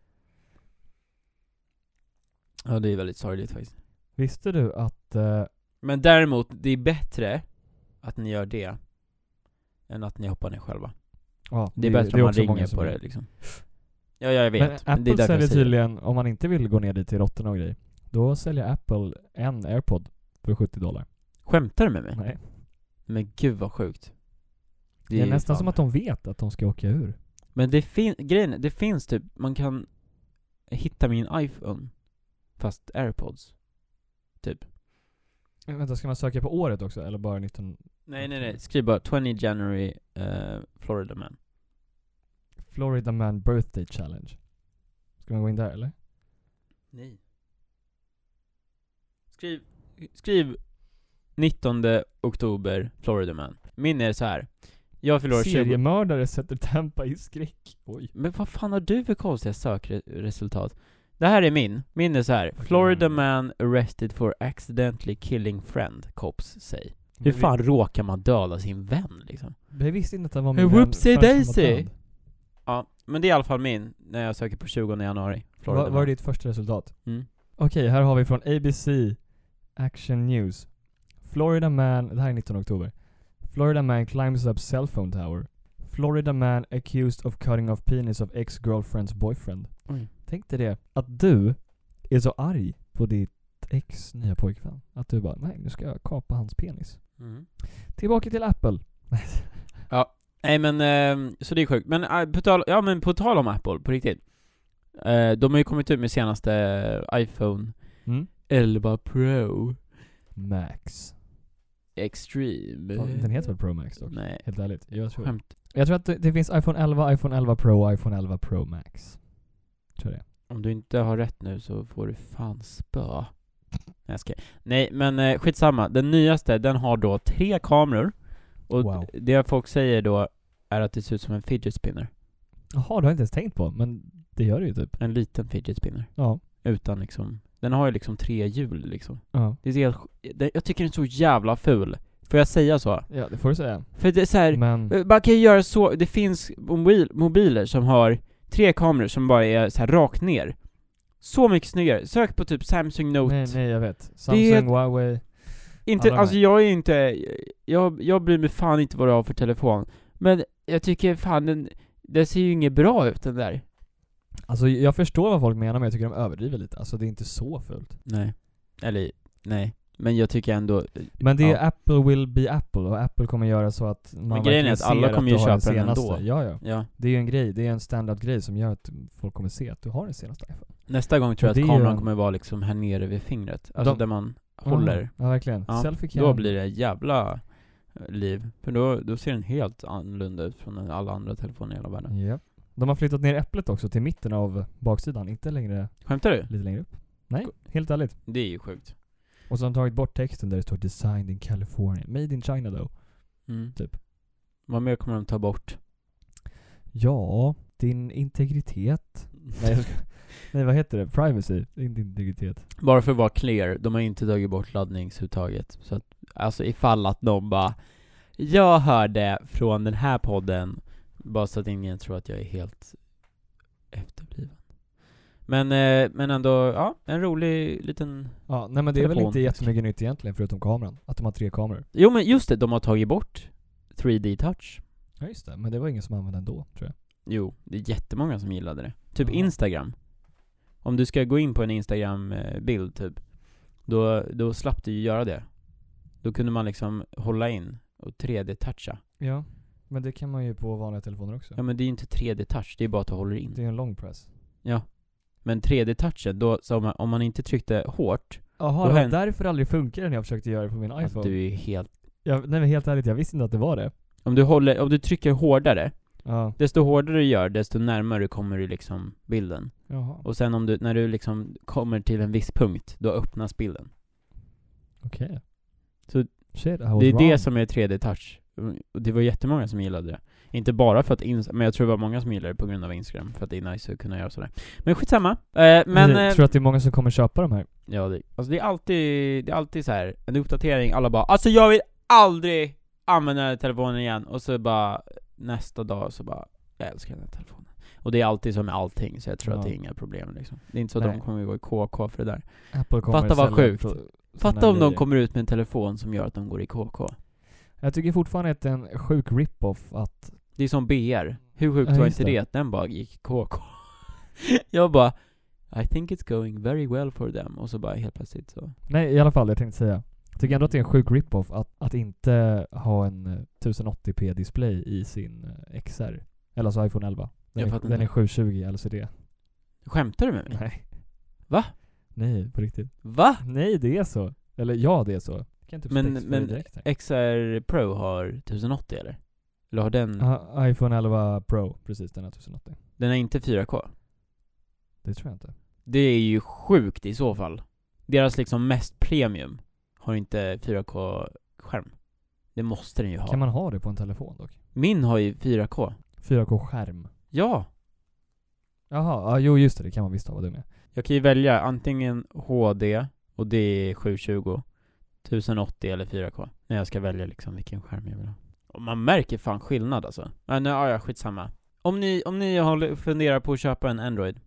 A: Ja, det är väldigt sorgligt faktiskt.
B: Visste du att... eh,
A: Men däremot, det är bättre att ni gör det än att ni hoppar ner själva.
B: Ja,
A: Det är bättre om man
B: också många
A: ringer
B: som
A: på
B: gör.
A: det liksom. Ja, jag vet.
B: Men
A: Men, det är
B: Apple
A: därför jag
B: säljer
A: säger det.
B: tydligen, om man inte vill gå ner dit till råttorna och grejer, då säljer Apple en airpod för 70 dollar.
A: Skämtar du med mig?
B: Nej.
A: Men gud vad sjukt.
B: Det är
A: ju
B: nästan
A: fan-
B: som att de vet att de ska åka ur.
A: Men det finns, grejen är, det finns typ, man kan hitta min iPhone, fast airpods. Typ.
B: Men Eh, vänta, ska man söka på året också? Eller bara 19...
A: Nej nej nej, skriv bara 20 January eh, Florida man.
B: Florida Man Birthday Challenge? Ska man gå in där eller?
A: Nej. Skriv, skriv 19 oktober Florida man. Min är så här. jag fyller år 20...
B: Seriemördare sätter Tampa i skräck. Oj.
A: Men vad fan har du för konstiga sökresultat? Det här är min. Min är så här. Florida man arrested for accidentally killing friend, cops say. Hur fan råkar man döda sin vän liksom?
B: Jag visste inte att det var
A: Hey,
B: min vän
A: whoopsie
B: förrän han var
A: daisy.
B: död.
A: Ja, men det är i alla fall min när jag söker på 20 januari. Florida
B: Vad
A: man.
B: var ditt första resultat?
A: Mm.
B: Okej, här har vi från ABC Action News. Florida man, det här är 19 oktober. Florida man climbs up cell phone tower. Florida man accused of cutting off penis of ex-girlfriend's boyfriend.
A: Oj.
B: Tänk dig det, att du är så arg på ditt ex nya pojkvän. Att du bara, nej nu ska jag kapa hans penis.
A: Mm.
B: Tillbaka till Apple. (laughs)
A: Nej men, ehm, så det är sjukt. Men eh, på tal, ja men på tal om Apple, på riktigt. Eh, de har ju kommit ut med senaste iPhone
B: Mm.
A: 11 Pro
B: Max.
A: Extreme.
B: Fan, Den heter väl Pro Max dock?
A: Nej,
B: Helt ärligt. Eh. Jag tror
A: skämt.
B: Jag tror att det, det finns iPhone 11, iPhone 11 Pro och iPhone 11 Pro Max. Tror det.
A: Om du inte har rätt nu så får du fan spö. Nej, jag skojar. Nej men eh, skitsamma, den nyaste den har då tre kameror och
B: Wow.
A: d- det folk säger då är att det ser ut som en fidget spinner.
B: Jaha, det har jag inte ens tänkt på, men det gör det ju typ.
A: En liten fidget spinner.
B: Ja.
A: Utan liksom, den har ju liksom tre hjul liksom.
B: Ja,
A: Det är helt, sj- det, jag tycker den är så jävla ful. Får jag säga så?
B: ja det får du säga.
A: För det är så här, eh,
B: Men,
A: man kan ju göra så, det finns mobil, mobiler som har tre kameror som bara är så här rakt ner. Så mycket snyggare. Sök på typ Samsung Note
B: nej, nej jag vet.
A: Det är-
B: Samsung, Huawei.
A: Inte,
B: Alla de
A: alltså
B: här.
A: jag är inte, jag, jag bryr mig fan inte vad du har för telefon. Men jag tycker fan den, den ser ju inget bra ut den där.
B: Alltså jag förstår vad folk menar men jag tycker de överdriver lite. Alltså det är inte så fult.
A: Nej. Eller, nej. Men jag tycker ändå...
B: Men det är
A: Ja.
B: Apple will be Apple och Apple kommer göra så att man
A: grejen
B: verkligen
A: är att alla
B: ser
A: kommer
B: du
A: ju
B: har
A: köpa den
B: senaste.
A: ändå.
B: Ja, ja.
A: Ja.
B: Det är ju en grej, det är en standardgrej som gör att folk kommer se att du har den senaste iPhone.
A: Nästa gång tror jag
B: Och
A: att
B: det är ju
A: kameran
B: en-
A: kommer vara liksom här nere vid fingret. Alltså
B: De-
A: där man håller.
B: Ja, verkligen.
A: Ja,
B: Selfie
A: Då
B: cam.
A: blir det jävla eh, liv. För då, då ser den helt annorlunda ut från alla andra telefoner i hela världen.
B: Japp. De har flyttat ner äpplet också till mitten av baksidan, inte längre,
A: Skämtar du?
B: lite längre upp. Nej,
A: Go-
B: helt ärligt.
A: Det är ju sjukt.
B: Och så har de tagit bort texten där det står 'Designed in California, Made in China though'
A: Mm.
B: Typ.
A: Vad mer kommer de ta bort?
B: Ja, din integritet. Nej, jag ska, nej vad heter det? Privacy? Inte integritet.
A: Bara för att vara clear, de har inte tagit bort laddningsuttaget. Så att, alltså ifall att de bara Jag hörde från den här podden, bara så att ingen tror att jag är helt efterbliven. Men, eh, men ändå, ja, en rolig liten
B: Ja, nej men det är väl
A: Telefon.
B: inte jättemycket nytt egentligen förutom kameran. Att de har tre kameror.
A: Jo men just det, de har tagit bort 3D touch.
B: Ja just det, men det var ingen som använde den då tror jag.
A: Jo, det är jättemånga som gillade det. Typ
B: Ja.
A: Instagram. Om du ska gå in på en Instagram-bild typ, då, då slapp du ju göra det. Då kunde man liksom hålla in och 3D-toucha.
B: Ja, men det kan man ju på vanliga telefoner också.
A: Ja men det är ju inte 3D-touch, det är bara att du håller in.
B: Det är ju en long press.
A: Men 3D-touchen, då, så om, man, om man inte tryckte hårt,
B: Jaha,
A: Då
B: det var
A: hän-
B: därför det aldrig funkade när jag försökte göra det på min
A: att
B: iPhone.
A: du är helt...
B: Jag, nej men helt ärligt, jag visste inte att det var det.
A: Om du, håller, om du trycker hårdare,
B: Ja.
A: desto hårdare du gör, desto närmare kommer du liksom bilden.
B: Jaha.
A: Och sen om du, när du liksom kommer till en viss punkt, då öppnas bilden.
B: Okej.
A: Så
B: Shit, I was
A: Det är
B: wrong.
A: det som är 3D-touch. Mm, Och det var jättemånga som gillade det. Inte bara för att Inst- men jag tror det var många som gillade det på grund av Instagram, för att det är nice att kunna göra sådär. Men skitsamma. Eh, men...
B: Men,
A: eh,
B: tror du att det är många som kommer köpa de här?
A: Ja, det, alltså det är alltid, det är alltid så här en uppdatering, alla bara 'Alltså jag vill aldrig använda den här telefonen igen' och så bara nästa dag så bara 'Jag älskar den här telefonen' Och det är alltid som med allting, så jag tror att
B: Ja.
A: det är inga problem liksom. Det är inte så att
B: Nej.
A: de kommer gå i KK för det där.
B: Apple kommer
A: Fatta vad
B: sälja
A: sjukt.
B: pro- såna
A: Fatta om de
B: grejer.
A: kommer ut med en telefon som gör att de går i KK.
B: Jag tycker fortfarande att det är en sjuk rip-off att
A: Det är som BR. Hur sjukt
B: Ja,
A: var
B: just
A: inte det
B: det.
A: att den bara gick KK? (laughs) jag bara I think it's going very well for them och så bara helt plötsligt så
B: Nej, i alla fall, jag tänkte säga. Tycker ändå att det är en sjuk rip-off att, att inte ha en eh, 1080p-display i sin eh, XR. Eller alltså iPhone 11.
A: Jag
B: Den, är,
A: fattar
B: den
A: inte.
B: är 720 LCD.
A: Skämtar du med mig?
B: (laughs) Nej.
A: Va?
B: Nej, på riktigt.
A: Va?
B: Nej, det är så. Eller ja, det är så. Jag kan typ
A: Men-
B: men,
A: men-
B: men, direkt här.
A: XR Pro har 1080 eller? Eller har den,
B: Ja, iPhone 11 Pro, precis den här 1080.
A: den är inte 4K?
B: Det tror jag inte.
A: Det är ju sjukt i så fall. Deras liksom mest premium har inte 4K-skärm. Det måste den ju ha.
B: Kan man ha det på en telefon dock?
A: Min har ju 4K.
B: 4K-skärm.
A: Ja!
B: Jaha, ja, jo just det, det kan man visst ha, vad dum jag är.
A: Jag kan ju välja antingen HD, och det är 720, 1080 eller 4K. När jag ska välja liksom vilken skärm jag vill ha. Och man märker fan skillnad alltså. Men ja, ja skitsamma. Om ni, om ni håller, funderar på att köpa en Android,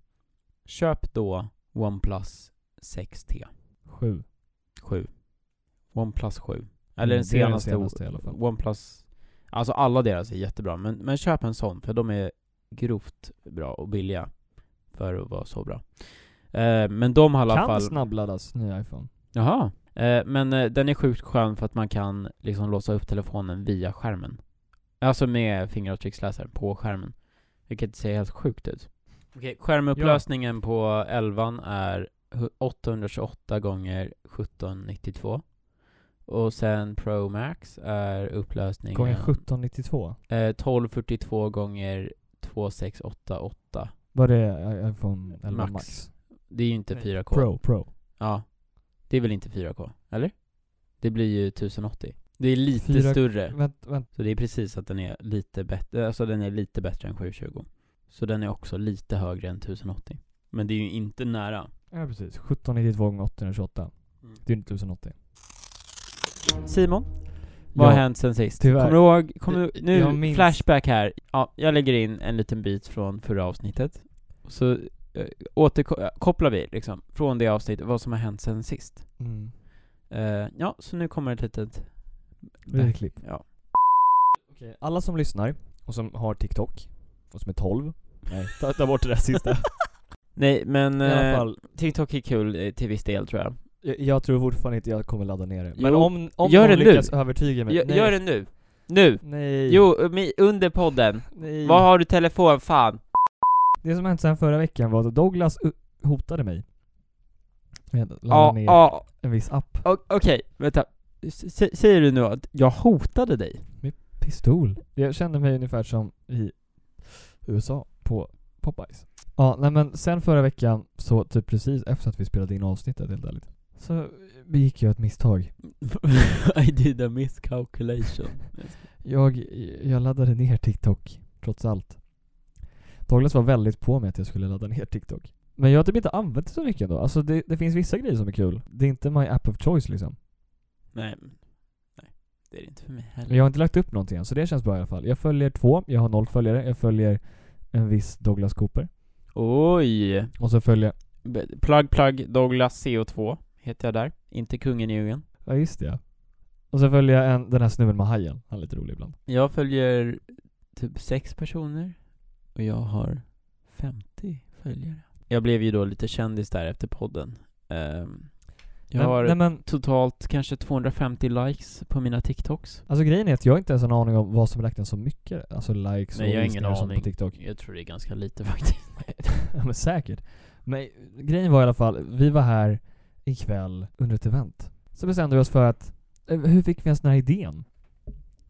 A: köp då OnePlus 6T.
B: 7.
A: 7. OnePlus 7. Eller den
B: Mm, det är den
A: senaste,
B: senaste i alla fall.
A: OnePlus. Alltså alla deras är jättebra, men, men köp en sån för de är grovt bra och billiga. För att vara så bra. Eh, men de har i alla
B: Kan
A: fall...
B: snabbladdas, ny iPhone.
A: Jaha. Eh, men eh, den är sjukt skön för att man kan liksom låsa upp telefonen via skärmen. Alltså med fingeravtrycksläsaren på skärmen. Vilket ser helt sjukt ut. Okej, skärmupplösningen på 11 är hu- 828 gånger 1792. Och sen Pro Max är upplösningen
B: Gånger 1792.
A: eh, 1242 gånger 2688.
B: Var det i- iPhone 11
A: Max.
B: Max?
A: Det är ju inte 4K.
B: Pro, Pro.
A: Ja. Det är väl inte 4K? Eller? Det blir ju 1080. Det är lite
B: 4K
A: större.
B: Vänt, vänt.
A: Så det är precis att den är lite bättre, alltså den är lite bättre än 720. Så den är också lite högre än 1080. Men det är ju inte nära.
B: Ja precis, 1792 gånger 828.
A: Mm.
B: Det är inte 1080.
A: Simon, vad har
B: Ja,
A: hänt sen sist?
B: tyvärr.
A: Kommer du ihåg, kommer du,
B: Jag
A: nu,
B: minns-
A: flashback här. Ja, jag lägger in en liten bit från förra avsnittet. Så eh, återkopplar vi liksom, från det avsnittet, vad som har hänt sen sist.
B: Mm.
A: Eh, ja, så nu kommer ett litet...
B: Det är ett klipp.
A: Ja.
B: Okej, alla som lyssnar och som har TikTok och som är 12. Nej, ta, ta bort det där sista.
A: (laughs) Nej men
B: I alla
A: eh,
B: fall,
A: TikTok är kul eh, till viss del tror jag.
B: jag, jag tror fortfarande inte jag kommer ladda ner det. Men
A: Jo,
B: om, om
A: gör
B: någon
A: det nu.
B: lyckas övertyga mig.
A: Gö-
B: nej,
A: Gör det nu! Nu!
B: Nej.
A: Jo, eh, mi- under podden.
B: Nej.
A: Vad har du telefon? Fan!
B: Det som hänt sen förra veckan var att Douglas u- hotade mig. Med att ladda
A: Ja,
B: ner
A: ja,
B: en viss app.
A: o- okej, vänta. S- s- säger du nu att jag hotade
B: (laughs)
A: dig?
B: Pistol. Jag kände mig ungefär som i USA på Popeyes. Ja, nej men sen förra veckan, så typ precis efter att vi spelade in avsnittet helt ärligt, så begick jag ett misstag.
A: I did a miscalculation.
B: Jag, jag laddade ner TikTok, trots allt. Douglas var väldigt på mig att jag skulle ladda ner TikTok. Men jag har typ inte använt det så mycket ändå. Alltså det, det finns vissa grejer som är kul. Det är inte my app of choice liksom.
A: nej, men- nej, det är det inte för mig heller.
B: Jag har inte lagt upp någonting än, så det känns bra i alla fall. Jag följer två, jag har noll följare. Jag följer en viss Douglas Cooper.
A: Oj!
B: Och så följer
A: B- Plug plug Douglas CO2 heter jag där. Inte kungen i djungeln.
B: Ja just det ja. Och så följer jag en, den här snubben med hajen, han är lite rolig ibland.
A: Jag följer typ sex personer och jag har 50 följare. Jag blev ju då lite kändis där efter podden. Ehm, jag
B: men,
A: har
B: nej, men
A: totalt kanske 250 likes på mina TikToks.
B: alltså grejen är att jag har inte ens en aning om vad som räknas som mycket, alltså likes
A: Nej,
B: och
A: jag har ingen
B: visningar och sånt
A: aning.
B: på TikTok. (laughs)
A: Jag tror det är ganska lite faktiskt.
B: ja men säkert. Men grejen var i alla fall, vi var här ikväll under ett event. Så bestämde vi oss för att, eh, hur fick vi ens den här idén?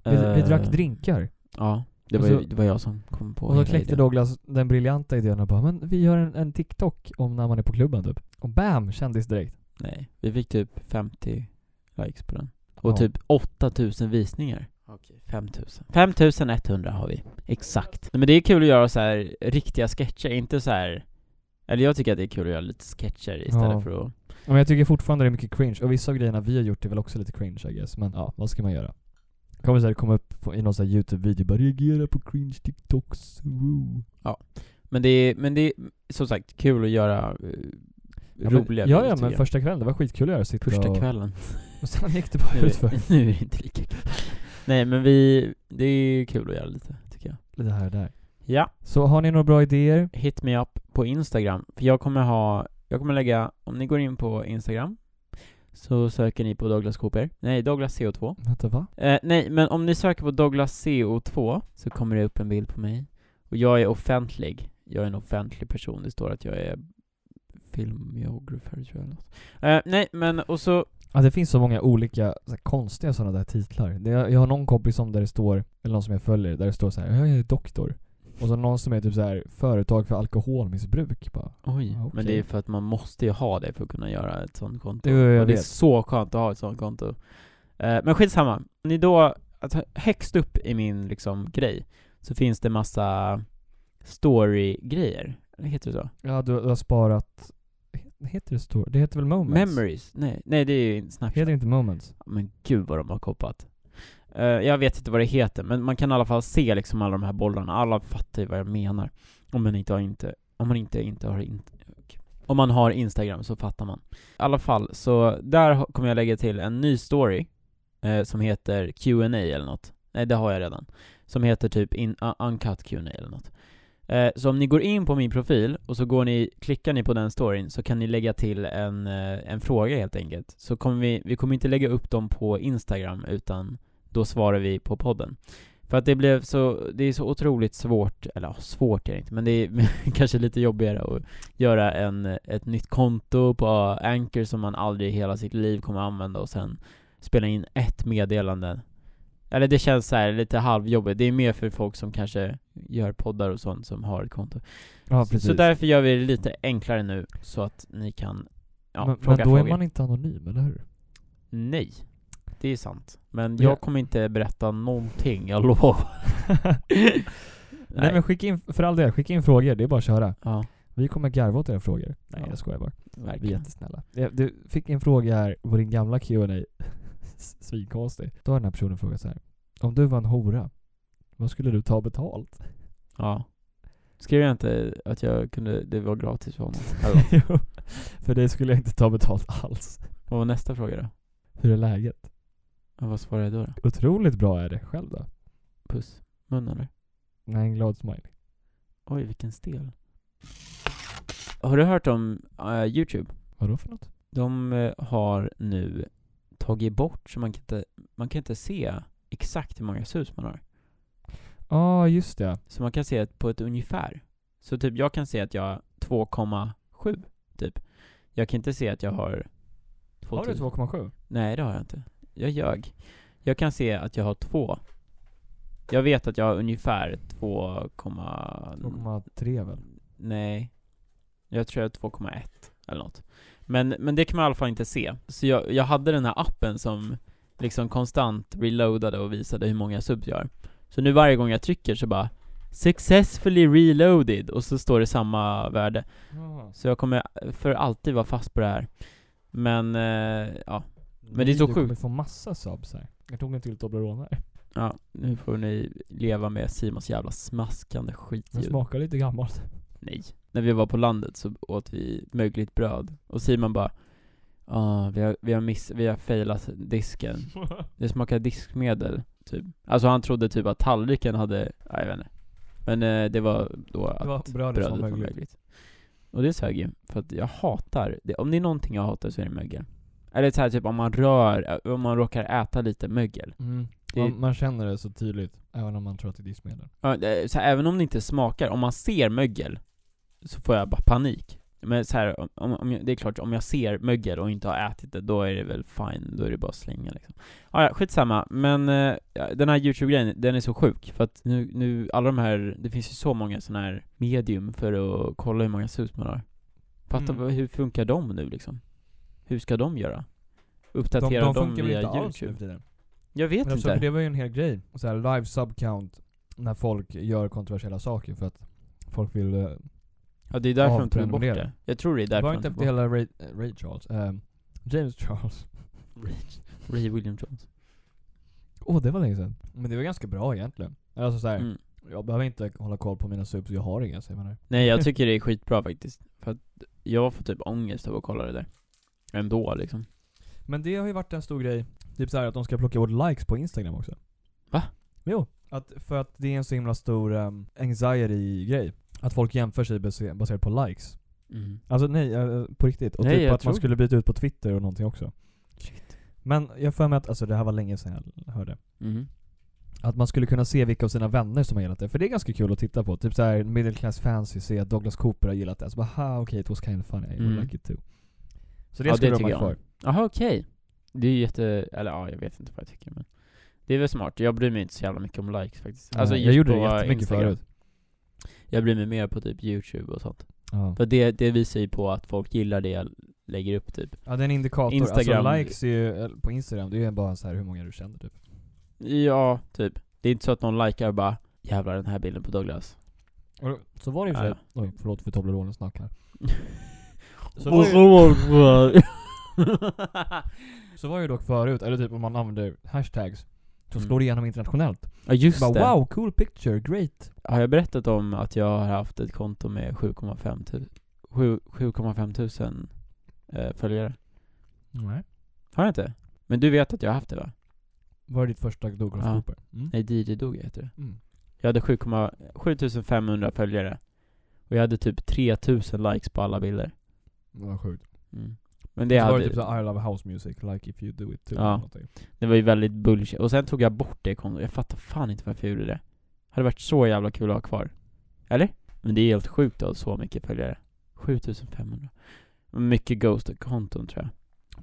B: Vi, vi
A: Eh,
B: drack drinkar.
A: Ja, det
B: Och
A: var, ju,
B: så-
A: det var jag som kom på
B: Och då
A: hela
B: kläckte
A: idén.
B: Douglas den briljanta idén och bara, men vi gör en, en TikTok om när man är på klubben typ. Och bam, kändis direkt.
A: Nej, vi fick typ 50 likes på den. Och
B: Ja.
A: typ 8000 visningar. Okej. 5000. 5100 har vi. Exakt. Nej, Men det är kul att göra så här riktiga sketcher, inte så här. Eller jag tycker att det är kul att göra lite sketcher istället
B: Ja.
A: för att...
B: Ja, Men jag tycker fortfarande det är mycket cringe, och vissa av grejerna vi har gjort är väl också lite cringe I guess, men ja, vad ska man göra? Det Kommer säkert komma upp på, i någon sån här youtube-video bara 'reagera på cringe TikToks' woo.
A: Men det är, men det är som sagt kul att göra eh,
B: Ja, men-
A: roliga
B: Ja, ja
A: videos,
B: men
A: tycker jag.
B: första kvällen, det var skitkul att göra, sitta
A: Första
B: och,
A: kvällen.
B: (laughs) och sen gick det bara
A: (laughs) Nu är
B: utför.
A: det, nu är det inte lika kul. Nej men vi, det är kul att göra lite, tycker jag.
B: lite här och där.
A: Ja,
B: Så har ni några bra idéer?
A: hit me up på Instagram. För jag kommer ha, jag kommer lägga, om ni går in på Instagram så söker ni på Douglas Cooper. Nej, Douglas CO2.
B: Vänta va?
A: Eh, nej, men om ni söker på Douglas CO2 så kommer det upp en bild på mig. Och jag är offentlig. Jag är en offentlig person. Det står att jag är filmgeografer tror jag. eller något. Eh, nej, men och så...
B: Ja, det finns så många olika så här, konstiga sådana där titlar. Det, jag har någon kompis som där det står, eller någon som jag följer, där det står så här, jag är doktor. Och så någon som är typ så här företag för alkoholmissbruk. Bara,
A: Oj.
B: Ja, okej.
A: Men det är för att man måste ju ha det för att kunna göra ett sånt konto.
B: Jo, jo, jag
A: och det är
B: vet.
A: så skönt att ha ett sånt konto. Eh, men skitsamma. Om ni då, alltså, högst upp i min liksom grej, så finns det massa story-grejer. Heter det så?
B: ja, du, du har sparat... Heter det stor? Det heter väl moments?
A: Memories? Nej, nej det är ju Snapchat.
B: Heter det inte moments?
A: Men gud vad de har kopat. Eh, jag vet inte vad det heter, men man kan i alla fall se liksom alla de här bollarna. Alla fattar ju vad jag menar. Om man inte har inte, om man inte, inte har inte, om man har Instagram så fattar man. I alla fall, så där ha- kommer jag lägga till en ny story eh, som heter Q&A eller något. Nej, det har jag redan. Som heter typ in, uh, Uncut Q&A eller något. Eh, så om ni går in på min profil och så går ni, klickar ni på den storyn så kan ni lägga till en, eh, en fråga helt enkelt. Så kommer vi, vi kommer inte lägga upp dem på Instagram utan då svarar vi på podden. För att det blev så, det är så otroligt svårt, eller ja, svårt är det inte, men det är (laughs) kanske lite jobbigare att göra en, ett nytt konto på Anchor som man aldrig i hela sitt liv kommer använda och sen spela in ett meddelande. Eller det känns så här lite halvjobbigt, det är mer för folk som kanske gör poddar och sånt som har ett konto.
B: Ja,
A: Så därför gör vi det lite enklare nu så att ni kan ja,
B: men,
A: fråga
B: men då
A: frågor.
B: är man inte anonym, eller hur?
A: Nej, det är sant. Men
B: Ja.
A: jag kommer inte berätta någonting, jag lovar.
B: (laughs) Nej.
A: Nej.
B: men skicka in, för all del, skicka in frågor. Det är bara att köra.
A: Ja,
B: Vi kommer garva åt era frågor. Nej
A: Ja.
B: jag skojar bara. Vi är
A: verkligen.
B: jättesnälla. Jag- Du fick en fråga här på din gamla (laughs) Q&A Svinkonstig. Då har den här personen frågat så här. Om du var en hora, vad skulle du ta betalt?
A: Ja. Skrev jag inte att jag kunde, det var gratis för
B: (laughs)
A: honom? Eller vad?
B: Jo, För det skulle jag inte ta betalt alls.
A: Vad var nästa fråga då?
B: Hur är läget?
A: Ja, vad svarade jag då? då?
B: Otroligt bra är det. Själv då?
A: Puss? Mun eller?
B: Nej, en glad smiley.
A: Oj, vilken stel. Har du hört om eh, Youtube?
B: Vadå för något?
A: De eh, har nu tagit bort, så man kan inte, man kan inte se exakt hur många sus man har.
B: Ja, just det.
A: Så man kan se det på ett ungefär. Så typ jag kan se att jag har 2,7 typ. Jag kan inte se att jag har... 2000.
B: Har du 2,7?
A: Nej det har jag inte. Jag ljög. Jag kan se att jag har 2. Jag vet att jag har ungefär 2,...
B: 2,3 väl?
A: Nej. Jag tror jag har 2,1 eller något. Men, men det kan man i alla fall inte se. Så jag, jag hade den här appen som liksom konstant reloadade och visade hur många subs jag har. Så nu varje gång jag trycker så bara Successfully reloaded och så står det samma värde. Så jag kommer för alltid vara fast på det här. Men eh, ja, Men det är så
B: du
A: sjukt.
B: kommer få massa subs här. Jag tog en till Toblerone här.
A: ja, nu får ni leva med Simons jävla smaskande
B: Den
A: skitljud.
B: smakar lite gammalt.
A: Nej. När vi var på landet så åt vi mögligt bröd. Och Simon bara ah, vi, har, vi, har miss, vi har failat disken.
B: (laughs)
A: Det smakar diskmedel, typ. Alltså han trodde typ att tallriken hade, ja, jag vet inte. Men eh, det var då att
B: Det var brödet
A: brödet
B: som
A: var
B: mögligt.
A: mögligt. Och det sög ju, för att jag hatar, det, om det är någonting jag hatar så är det mögel. Eller så här, typ om man rör, om man råkar äta lite mögel.
B: Mm.
A: Det-
B: Man, man känner det så tydligt, även om man tror att det är diskmedel.
A: Ja, det- Så här, även om det inte smakar, om man ser mögel så får jag bara panik. Men så här, om- om, om jag, det är klart, om jag ser mögel och inte har ätit det, då är det väl fine, då är det bara att slänga liksom. Ah, ja, skitsamma, men eh, ja, den här youtube-grejen, den är så sjuk, för att nu, nu, alla de här, det finns ju så många sådana här medium för att kolla hur många sus man har. Fattar
B: Mm.
A: vad- hur funkar de nu liksom? Hur ska de göra?
B: De,
A: Uppdatera
B: de
A: dem
B: funkar väl
A: via
B: inte alls nu
A: youtube?
B: för tiden?
A: Jag vet
B: Men alltså, för
A: inte.
B: det var ju en hel grej. Så här, live sub count, när folk gör kontroversiella saker för att folk vill... eh,
A: Ja, det är därför de tog bort
B: avprenumerera.
A: det. Jag tror det är
B: Det
A: därför
B: var
A: de
B: inte
A: tog
B: efter
A: bort det.
B: hela Ray, eh, Ray Charles. ehm, James Charles. (laughs)
A: Ray William Jones.
B: Åh, det var länge sedan. Men det var ganska bra egentligen. Alltså såhär,
A: Mm.
B: jag behöver inte hålla koll på mina subs, jag har inga så jag menar.
A: Nej jag tycker det är skitbra faktiskt, för att jag får typ ångest av att kolla det där. Ändå liksom.
B: Men det har ju varit en stor grej. Typ såhär att de ska plocka bort likes på Instagram också.
A: Va?
B: Jo. Att, för att det är en så himla stor um, anxiety-grej. Att folk jämför sig base- baserat på likes.
A: Mm.
B: Alltså nej, eh, på riktigt. Och
A: Nej,
B: typ
A: jag
B: att man
A: tror-
B: skulle byta ut på Twitter och någonting också.
A: Shit.
B: Men jag har för mig att, alltså det här var länge sedan jag hörde.
A: Mm.
B: Att man skulle kunna se vilka av sina vänner som har gillat det. För det är ganska kul att titta på. Typ såhär middle class fancy, se att Douglas Cooper har gillat det. Så bara ha okej, it was kind of funny, I would
A: Mm.
B: like it too. Så det
A: Ja, det
B: skulle de
A: tycker
B: ha
A: jag.
B: kvar.
A: Jaha okej. Det är ju jätte, eller ja jag vet inte vad jag tycker men Det är väl smart, jag bryr mig inte så jävla mycket om likes faktiskt. Alltså,
B: jag
A: just
B: gjorde det
A: på
B: jättemycket
A: Instagram.
B: förut.
A: Jag bryr mig mer på typ youtube och sånt.
B: Ja.
A: För det, det visar ju på att folk gillar det jag lägger upp typ.
B: ja, det är en indikator.
A: Instagram-
B: Alltså likes är ju, eller på Instagram, det är ju bara så här hur många du känner typ.
A: Ja, typ. Det är inte så att någon likar och bara 'Jävlar den här bilden på (laughs) Douglas'
B: Och så var det ju för sig,
A: Ja.
B: oj förlåt för Toblerone-snack här. Så var, ju,
A: Varför?
B: (laughs) så var ju dock förut, eller typ om man använder hashtags, så
A: Mm.
B: slår det igenom internationellt.
A: ja just
B: Bara
A: det.
B: wow, cool picture, great.
A: Har jag berättat om att jag har haft ett konto med 7,5 tu- sju- 7,5 tusen eh, följare?
B: Nej.
A: Har jag inte? Men du vet att jag har haft det va?
B: Var det ditt första Douglas
A: Ja.
B: Cooper? Mm.
A: Nej, DJ Doga heter det.
B: Mm.
A: Jag hade 7,- 7500 följare. Och jag hade typ 3000 likes på alla bilder.
B: Det var sjukt.
A: Mm. Men det
B: Det så var
A: hade...
B: det typ såhär, I love house music, like if you do it too.
A: Ja.
B: eller någonting.
A: Det var ju väldigt bullshit. Och sen tog jag bort det kontot. Jag fattar fan inte varför jag gjorde det. Hade varit så jävla kul att ha kvar. Eller? Men det är helt sjukt att ha så mycket följare. 7500. Mycket ghost-konton tror jag.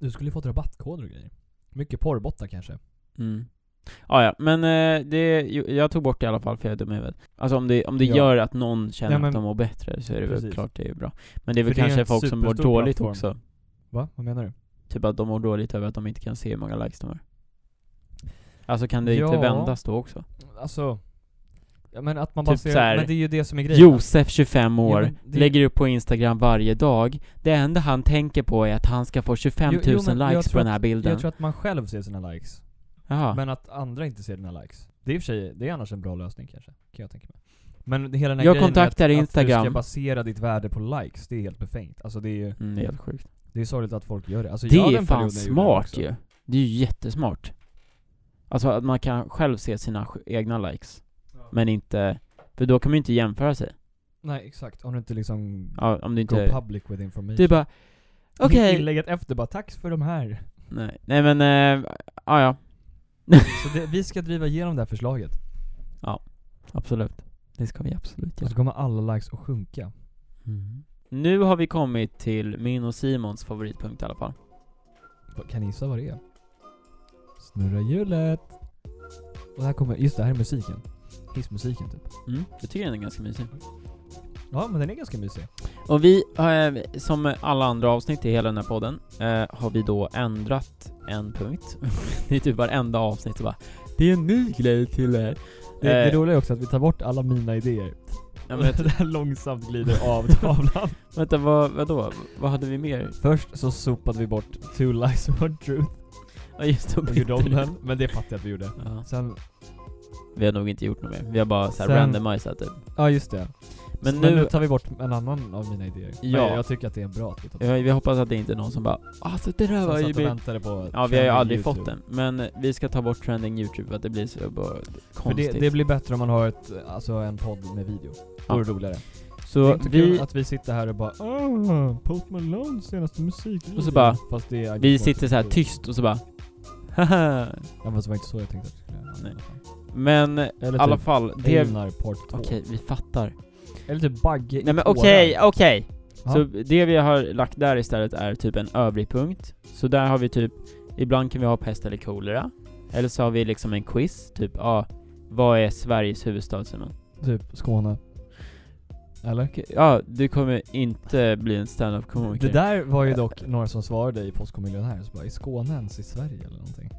B: Du skulle ju fått rabattkoder och grejer. Mycket porrbottar kanske.
A: Mm. Ah, ja, men eh, det, jo, jag tog bort det i alla fall för jag är dum i huvudet. Alltså om det, om det
B: Ja.
A: gör att någon känner
B: Ja, men-
A: att de mår bättre så är det väl
B: Precis.
A: klart det är bra. Men det är väl
B: För det är
A: kanske
B: en
A: folk som mår
B: superstor
A: dåligt
B: plattform.
A: också.
B: Va? Vad menar du?
A: Typ att de mår dåligt över att de inte kan se hur många likes de har. Alltså kan det inte
B: Ja.
A: vändas då också?
B: Alltså... Ja, men att man
A: Typ
B: bara ser,
A: så här,
B: men det är ju det som är grejen.
A: Josef, 25 år,
B: Ja, men det-
A: lägger upp på Instagram varje dag. Det enda han tänker på är att han ska få 25
B: Jo,
A: 000
B: jo, men jag
A: likes på
B: tror
A: den här bilden.
B: Jag tror att man själv ser sina likes.
A: Jaha.
B: Men att andra inte ser dina likes. Det är i och för sig, det är annars en bra lösning kanske, kan jag tänka mig. Men hela den här
A: Jag
B: grejen med
A: kontaktar
B: att, att du
A: Instagram.
B: ska basera ditt värde på likes, det är helt befängt. Alltså det är ju,
A: Mm, det är helt sjukt.
B: det är sorgligt att folk gör det. Alltså,
A: det
B: jag hade
A: är
B: en
A: fan
B: period när jag gjorde det
A: smart
B: också.
A: ju. Det är ju jättesmart. Alltså att man kan själv se sina sj- egna likes. Men inte... För då kan man ju inte jämföra sig.
B: Nej exakt, om du inte liksom
A: Ja, om du
B: go
A: inte...
B: public with information.
A: Det är bara... Okej.
B: Inlägget efter bara 'tack för de här'
A: Nej. Nej men... Äh, ja, ja.
B: Så det, vi ska driva igenom det här förslaget.
A: Absolut. Det ska vi absolut
B: Och
A: göra.
B: så kommer alla likes att sjunka.
A: Mm. Nu har vi kommit till min och Simons favoritpunkt i alla fall.
B: Vad- Kan ni gissa vad det är? Snurra hjulet! Och här kommer, just det här är musiken. Hissmusiken typ.
A: Mm, jag tycker den är ganska mysig.
B: Ja men den är ganska mysig.
A: Och vi, eh, som alla andra avsnitt i hela den här podden, eh, har vi då ändrat en punkt. (laughs) det är typ varenda avsnitt så bara Det är en ny grej till det här.
B: Det, det
A: Eh,
B: roliga är också att vi tar bort alla mina idéer.
A: ja,
B: (laughs)
A: men,
B: det här långsamt glider av tavlan.
A: (laughs) vänta, vad, vadå? Vad hade vi mer?
B: Först så sopade vi bort Two Lies One Truth
A: Ja just det,
B: och
A: bytte
B: gjorde om
A: det.
B: den, men det fattar jag att vi gjorde.
A: Ja,
B: Sen,
A: vi har nog inte gjort något mer. Vi har bara såhär
B: Sen-
A: randomiserat typ.
B: ja just det.
A: Men
B: Så-
A: nu,
B: tar vi bort en annan av mina idéer. Men
A: Ja.
B: jag- jag tycker att det är bra att vi tar bort
A: ja, vi hoppas att det inte är någon som bara Alltså det där
B: Som
A: var
B: satt
A: ju
B: och
A: min...
B: väntade på
A: Ja vi har ju aldrig
B: YouTube.
A: fått den, men vi ska ta bort trending youtube för att det blir så bara
B: För
A: konstigt.
B: det, det blir bättre om man har ett, alltså en podd med video. Då
A: Ja.
B: är det roligare. det är
A: så
B: inte
A: vi,
B: kul att vi sitter här och bara ah, Post Malone senaste musik
A: Och så bara,
B: Fast det är
A: vi sitter så här tyst och så bara Haha.
B: Ja fast det var inte så jag tänkte att det skulle göra.
A: Nej. Men i
B: Eller
A: alla
B: typ
A: fall, det... Okej,
B: Einar part 2.
A: vi fattar.
B: Eller typ Bagge i
A: Nej men
B: tårar.
A: okej, okej!
B: Ja.
A: Så det vi har lagt där istället är typ en övrig punkt. Så där har vi typ, ibland kan vi ha pest eller kolera. Eller så har vi liksom en quiz, typ ja, ah, vad är Sveriges huvudstad Simon?
B: Typ Skåne. Eller?
A: Okej, Ja, du kommer inte bli en stand-up
B: Det
A: komiker.
B: där var ju dock några som svarade i Postkodmiljonär, så bara i Skåne ens i Sverige eller någonting.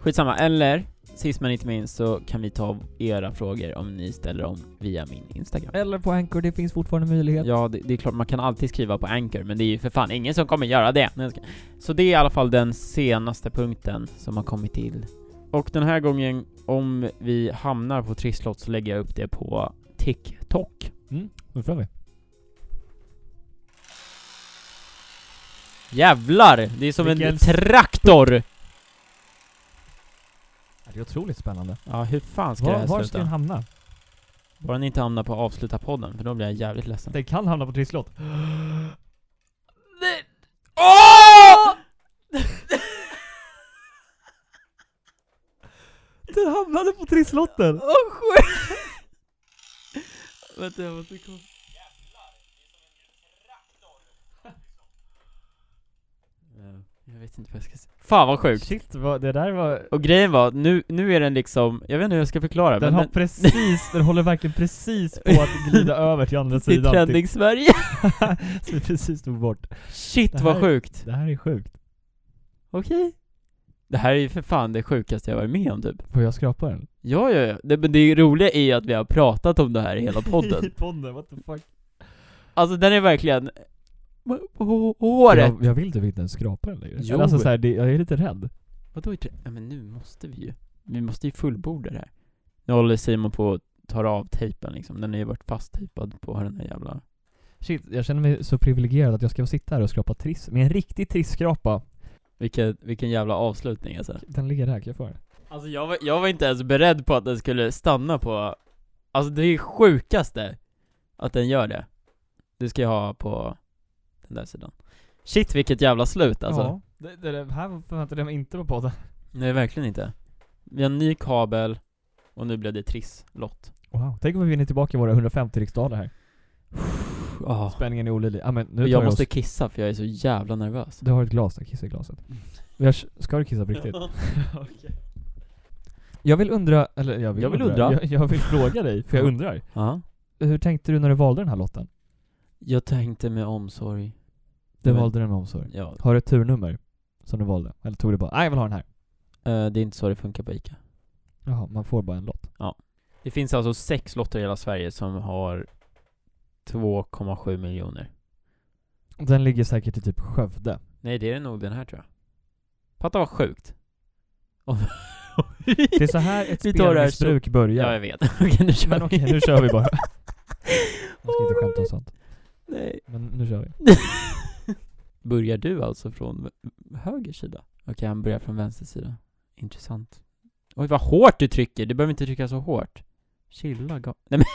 A: Skitsamma, eller sist men inte minst så kan vi ta era frågor om ni ställer om via min Instagram.
B: Eller på Anchor, det finns fortfarande möjlighet.
A: Ja, det, det är klart, man kan alltid skriva på Anchor, men det är ju för fan ingen som kommer göra det. Nej, jag ska- Så det är i alla fall den senaste punkten som har kommit till. Och den här gången, om vi hamnar på trisslott så lägger jag upp det på TikTok.
B: Mm, då kör vi.
A: Jävlar! Det är som
B: Vilken
A: en traktor!
B: här är otroligt spännande.
A: Ja, hur fan ska det
B: Var,
A: här
B: var
A: sluta?
B: ska den hamna?
A: Bara den inte hamnar på avsluta podden, för då blir jag jävligt ledsen. (gasps)
B: Den kan hamna på trisslott.
A: (laughs) Åh!
B: Den hamnade på trisslotten!
A: Åh oh, sjukt! (laughs) Vänta jag måste kolla. Ja, Eh, Jag vet inte vad jag ska säga. Fan vad sjukt!
B: Shit, vad, det där var...
A: Och grejen var, nu, nu är den liksom, jag vet inte hur jag ska förklara
B: Den
A: men
B: har precis, den håller verkligen precis på att
A: (laughs)
B: glida över till andra
A: den, i
B: sidan.
A: trending Sverige.
B: Så vi precis tog bort.
A: (laughs) Shit
B: Det här-
A: vad sjukt!
B: Det här är sjukt.
A: Okej. Det här är ju för fan det sjukaste jag varit med om typ.
B: Får jag skrapa den?
A: Ja, ja, ja. Det, men det roliga är ju att vi har pratat om det här i hela
B: (laughs)
A: (laughs)
B: I
A: podden.
B: podden, what the fuck?
A: alltså den är verkligen på- på håret.
B: Jag, jag vill typ inte ens skrapa den längre.
A: Jo.
B: Eller Alltså, så här, det, jag är lite rädd.
A: Vadå är det? Ja, men nu måste vi ju. Vi måste ju fullborda det här. Nu håller Simon på och tar av tejpen liksom. Den har ju varit fasttejpad på den här jävla...
B: Shit, jag känner mig så privilegierad att jag ska få sitta här och skrapa triss. Med en riktig trisskrapa.
A: Vilken, vilken jävla avslutning alltså.
B: Den ligger där, kan jag få den?
A: Alltså jag var, jag var inte ens beredd på att den skulle stanna på... Alltså det är sjukaste att den gör det. Du ska jag ha på den där sidan. Shit vilket jävla slut alltså.
B: Ja. Det, det, det här förväntade jag mig inte på podden.
A: Nej verkligen inte. Vi har en ny kabel och nu blev det trisslott.
B: Wow. Tänk om vi vinner tillbaka våra 150 riksdaler här.
A: Oh.
B: Spänningen är olidlig. Ja, men nu tar
A: Jag
B: vi
A: måste
B: Oss.
A: kissa för jag är så jävla nervös.
B: Du har ett glas där, kissa i glaset.
A: Mm.
B: Jag, ska du kissa på (laughs) riktigt? Jag vill undra, eller jag vill,
A: Jag vill undra.
B: Jag, jag vill
A: (laughs)
B: fråga dig, för jag
A: Ja.
B: undrar.
A: Ja.
B: Hur tänkte du när du valde den här lotten?
A: Jag tänkte med omsorg.
B: Du
A: Men-
B: valde den med omsorg.
A: Ja,
B: Har du ett turnummer som du valde? Eller tog du bara, nej jag vill ha den här.
A: eh, det är inte så det funkar på ICA.
B: Jaha, man får bara en lott.
A: Det finns alltså sex lotter i hela Sverige som har 2,7 miljoner.
B: Den ligger säkert i typ Skövde.
A: Nej, det är nog den här tror jag. Fatta vad sjukt.
B: Det är så här ett
A: Vi tar det här så-
B: spelmissbruk
A: (laughs)
B: börjar.
A: Ja, jag vet. (laughs) Okej, nu kör
B: Men
A: vi.
B: okej, nu
A: (laughs)
B: kör vi bara. Man ska inte skämta om sånt.
A: Nej.
B: Men nu kör vi.
A: (laughs) Börjar du alltså från v- höger sida? Okej, han börjar från vänster sida. Intressant. Oj, vad hårt du trycker! Du behöver inte trycka så hårt. Chilla, ga- (laughs) Nej men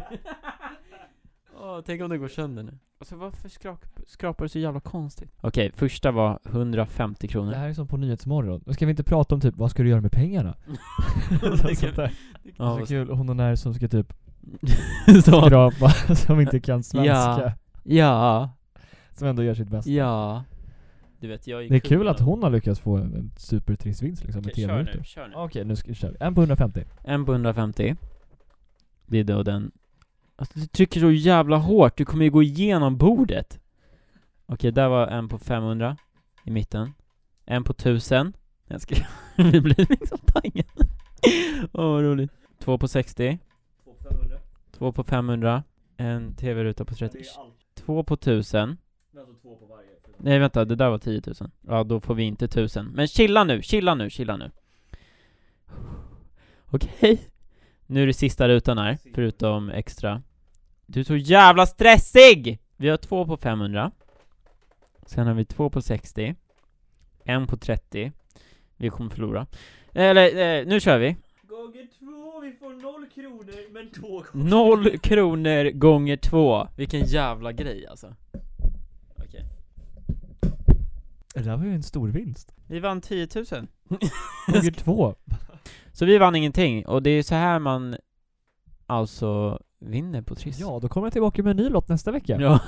A: gud. (laughs) Åh, tänk om det går sönder nu. Alltså varför skrak- skrapar du så jävla konstigt? Okej, första var 150 kronor. (laughs)
B: Det här är som på Nyhetsmorgon. Ska vi inte prata om typ, vad ska du göra med pengarna? Sånt där. Det
A: Ja,
B: är så kul, hon och när som ska typ
A: vad- (laughs) så.
B: skrapa, (laughs) som inte kan svenska.
A: Ja,
B: Som ändå gör sitt bästa.
A: ja. Du vet, jag
B: Det är kul att hon har lyckats få en, en supertrist vinst liksom med
A: Okej,
B: 10
A: kör nu,
B: minuter.
A: kör nu.
B: Okej, nu ska, kör vi. En på 150.
A: En på 150 Det är då den Alltså du trycker så jävla hårt, du kommer ju gå igenom bordet Okej, där var en på 500 I mitten En på 1000 Jag ska... (laughs) Vi blir liksom taggade Åh vad roligt Två på 60 Två på 500 En tv-ruta på 30 Två på 1000 Nej vänta, det där var 10 000 Ja, då får vi inte 1000 Men chilla nu, chilla nu, chilla nu Okej. Nu är det sista rutan här, förutom extra. Du är så jävla stressig! Vi har två på 500. Sen har vi två på 60. En på 30. Vi kommer förlora. Eller, eh, nu kör vi.
C: Gånger två, vi får noll kronor men två gånger.
A: Noll kronor gånger två. Vilken jävla grej alltså. Okej.
B: Det där var ju en
A: (laughs)
B: stor vinst.
A: Vi vann 10 000.
B: Gånger två.
A: Så vi vann ingenting, och det är så här man alltså vinner på Triss.
B: Ja, då kommer jag tillbaka med en ny lott nästa vecka.
A: ja.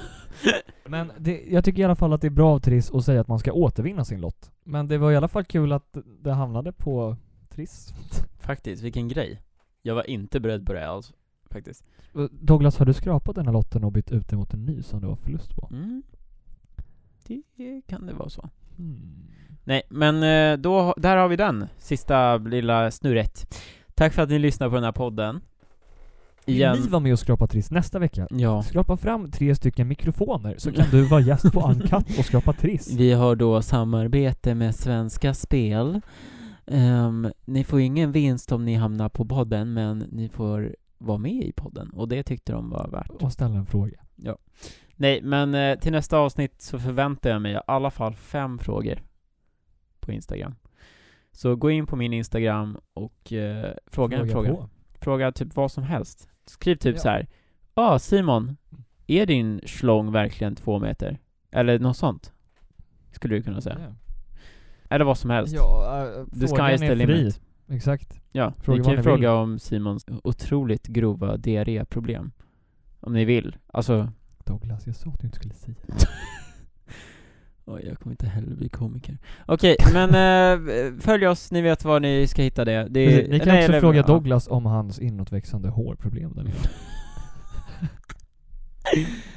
B: Men det, jag tycker i alla fall att det är bra av Triss att säga att man ska återvinna sin lott. Men det var i alla fall kul att det hamnade på Triss.
A: (laughs)
B: (laughs)
A: Faktiskt, vilken grej. Jag var inte beredd på det alls, faktiskt.
B: Douglas, har du skrapat den här lotten och bytt ut den mot en ny som det var förlust på?
A: Mm. Det kan det vara så. Nej, men eh, då, ha- där har vi den, sista lilla snurret. Tack för att ni lyssnar på den här podden. Igen.
B: Vill ni vara med och skrapa Triss nästa vecka?
A: Ja.
B: Skrapa fram tre stycken mikrofoner så kan du vara gäst på Uncut och
A: (laughs)
B: skrapa Triss.
A: Vi har då samarbete med Svenska Spel. Ehm, ni får ingen vinst om ni hamnar på podden, men ni får vara med i podden. Och det tyckte de var värt.
B: Och ställa en fråga.
A: Nej, men eh, till nästa avsnitt så förväntar jag mig i alla fall fem frågor på Instagram. Så gå in på min Instagram och eh, fråga en fråga.
B: på.
A: Fråga typ vad som helst. Skriv typ
B: Ja.
A: så här. Ja, ah, Simon, är din slång verkligen två meter? Eller något sånt. Skulle du kunna säga.
B: Ja.
A: Eller vad som helst.
B: Ja, eh,
A: The sky
B: frågan
A: is
B: är
A: the
B: fri.
A: limit.
B: Exakt.
A: Ja,
B: Fråga
A: ni
B: vad
A: kan ju
B: ni vill.
A: fråga om Simons otroligt grova diarréproblem. Om ni vill. Alltså,
B: Douglas, jag sa att du inte skulle säga
A: oj, jag kommer inte heller bli komiker.
B: (laughs)
A: Okej, men eh, följ oss, ni vet var ni ska hitta det. det
B: Precis, Ni kan
A: Eh, nej,
B: också
A: eller-
B: fråga
A: ja. (laughs)
B: Douglas om hans inåtväxande hårproblem där nere.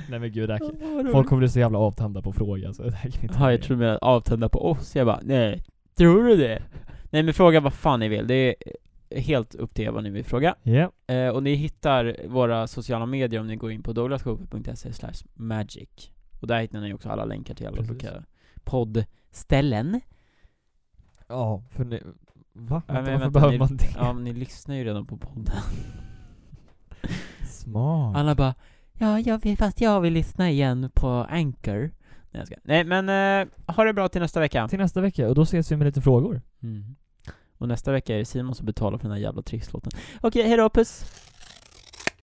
B: Nej men gud, det här, kan-
A: Åh, vad
B: folk kommer bli så jävla avtända på frågan så det här kan vi inte
A: Ja, jag
B: göra.
A: tror de är avtända på oss. Jag bara, nej, tror du det? Nej men fråga vad fan ni vill, det är helt upp till er vad ni vill fråga.
B: Ja,
A: Eh, och ni hittar våra sociala medier om ni går in på douglascope.se slash magic. Och där hittar ni också alla länkar till alla
B: Precis.
A: olika poddställen.
B: ja för ni, va?
A: men
B: Vänta, varför
A: vänta,
B: behöver
A: ni-
B: man det?
A: Ja, men ni lyssnar ju redan på podden.
B: Smart.
A: Alla bara, ja, jag vill, fast jag vill lyssna igen på Anchor. Nej, jag ska. Nej men, eh, ha det bra till nästa vecka.
B: Till nästa vecka, och då ses vi med lite frågor.
A: Mm. Och nästa vecka är det Simon som betalar för den här jävla trixlåten. Okej, hejdå, puss!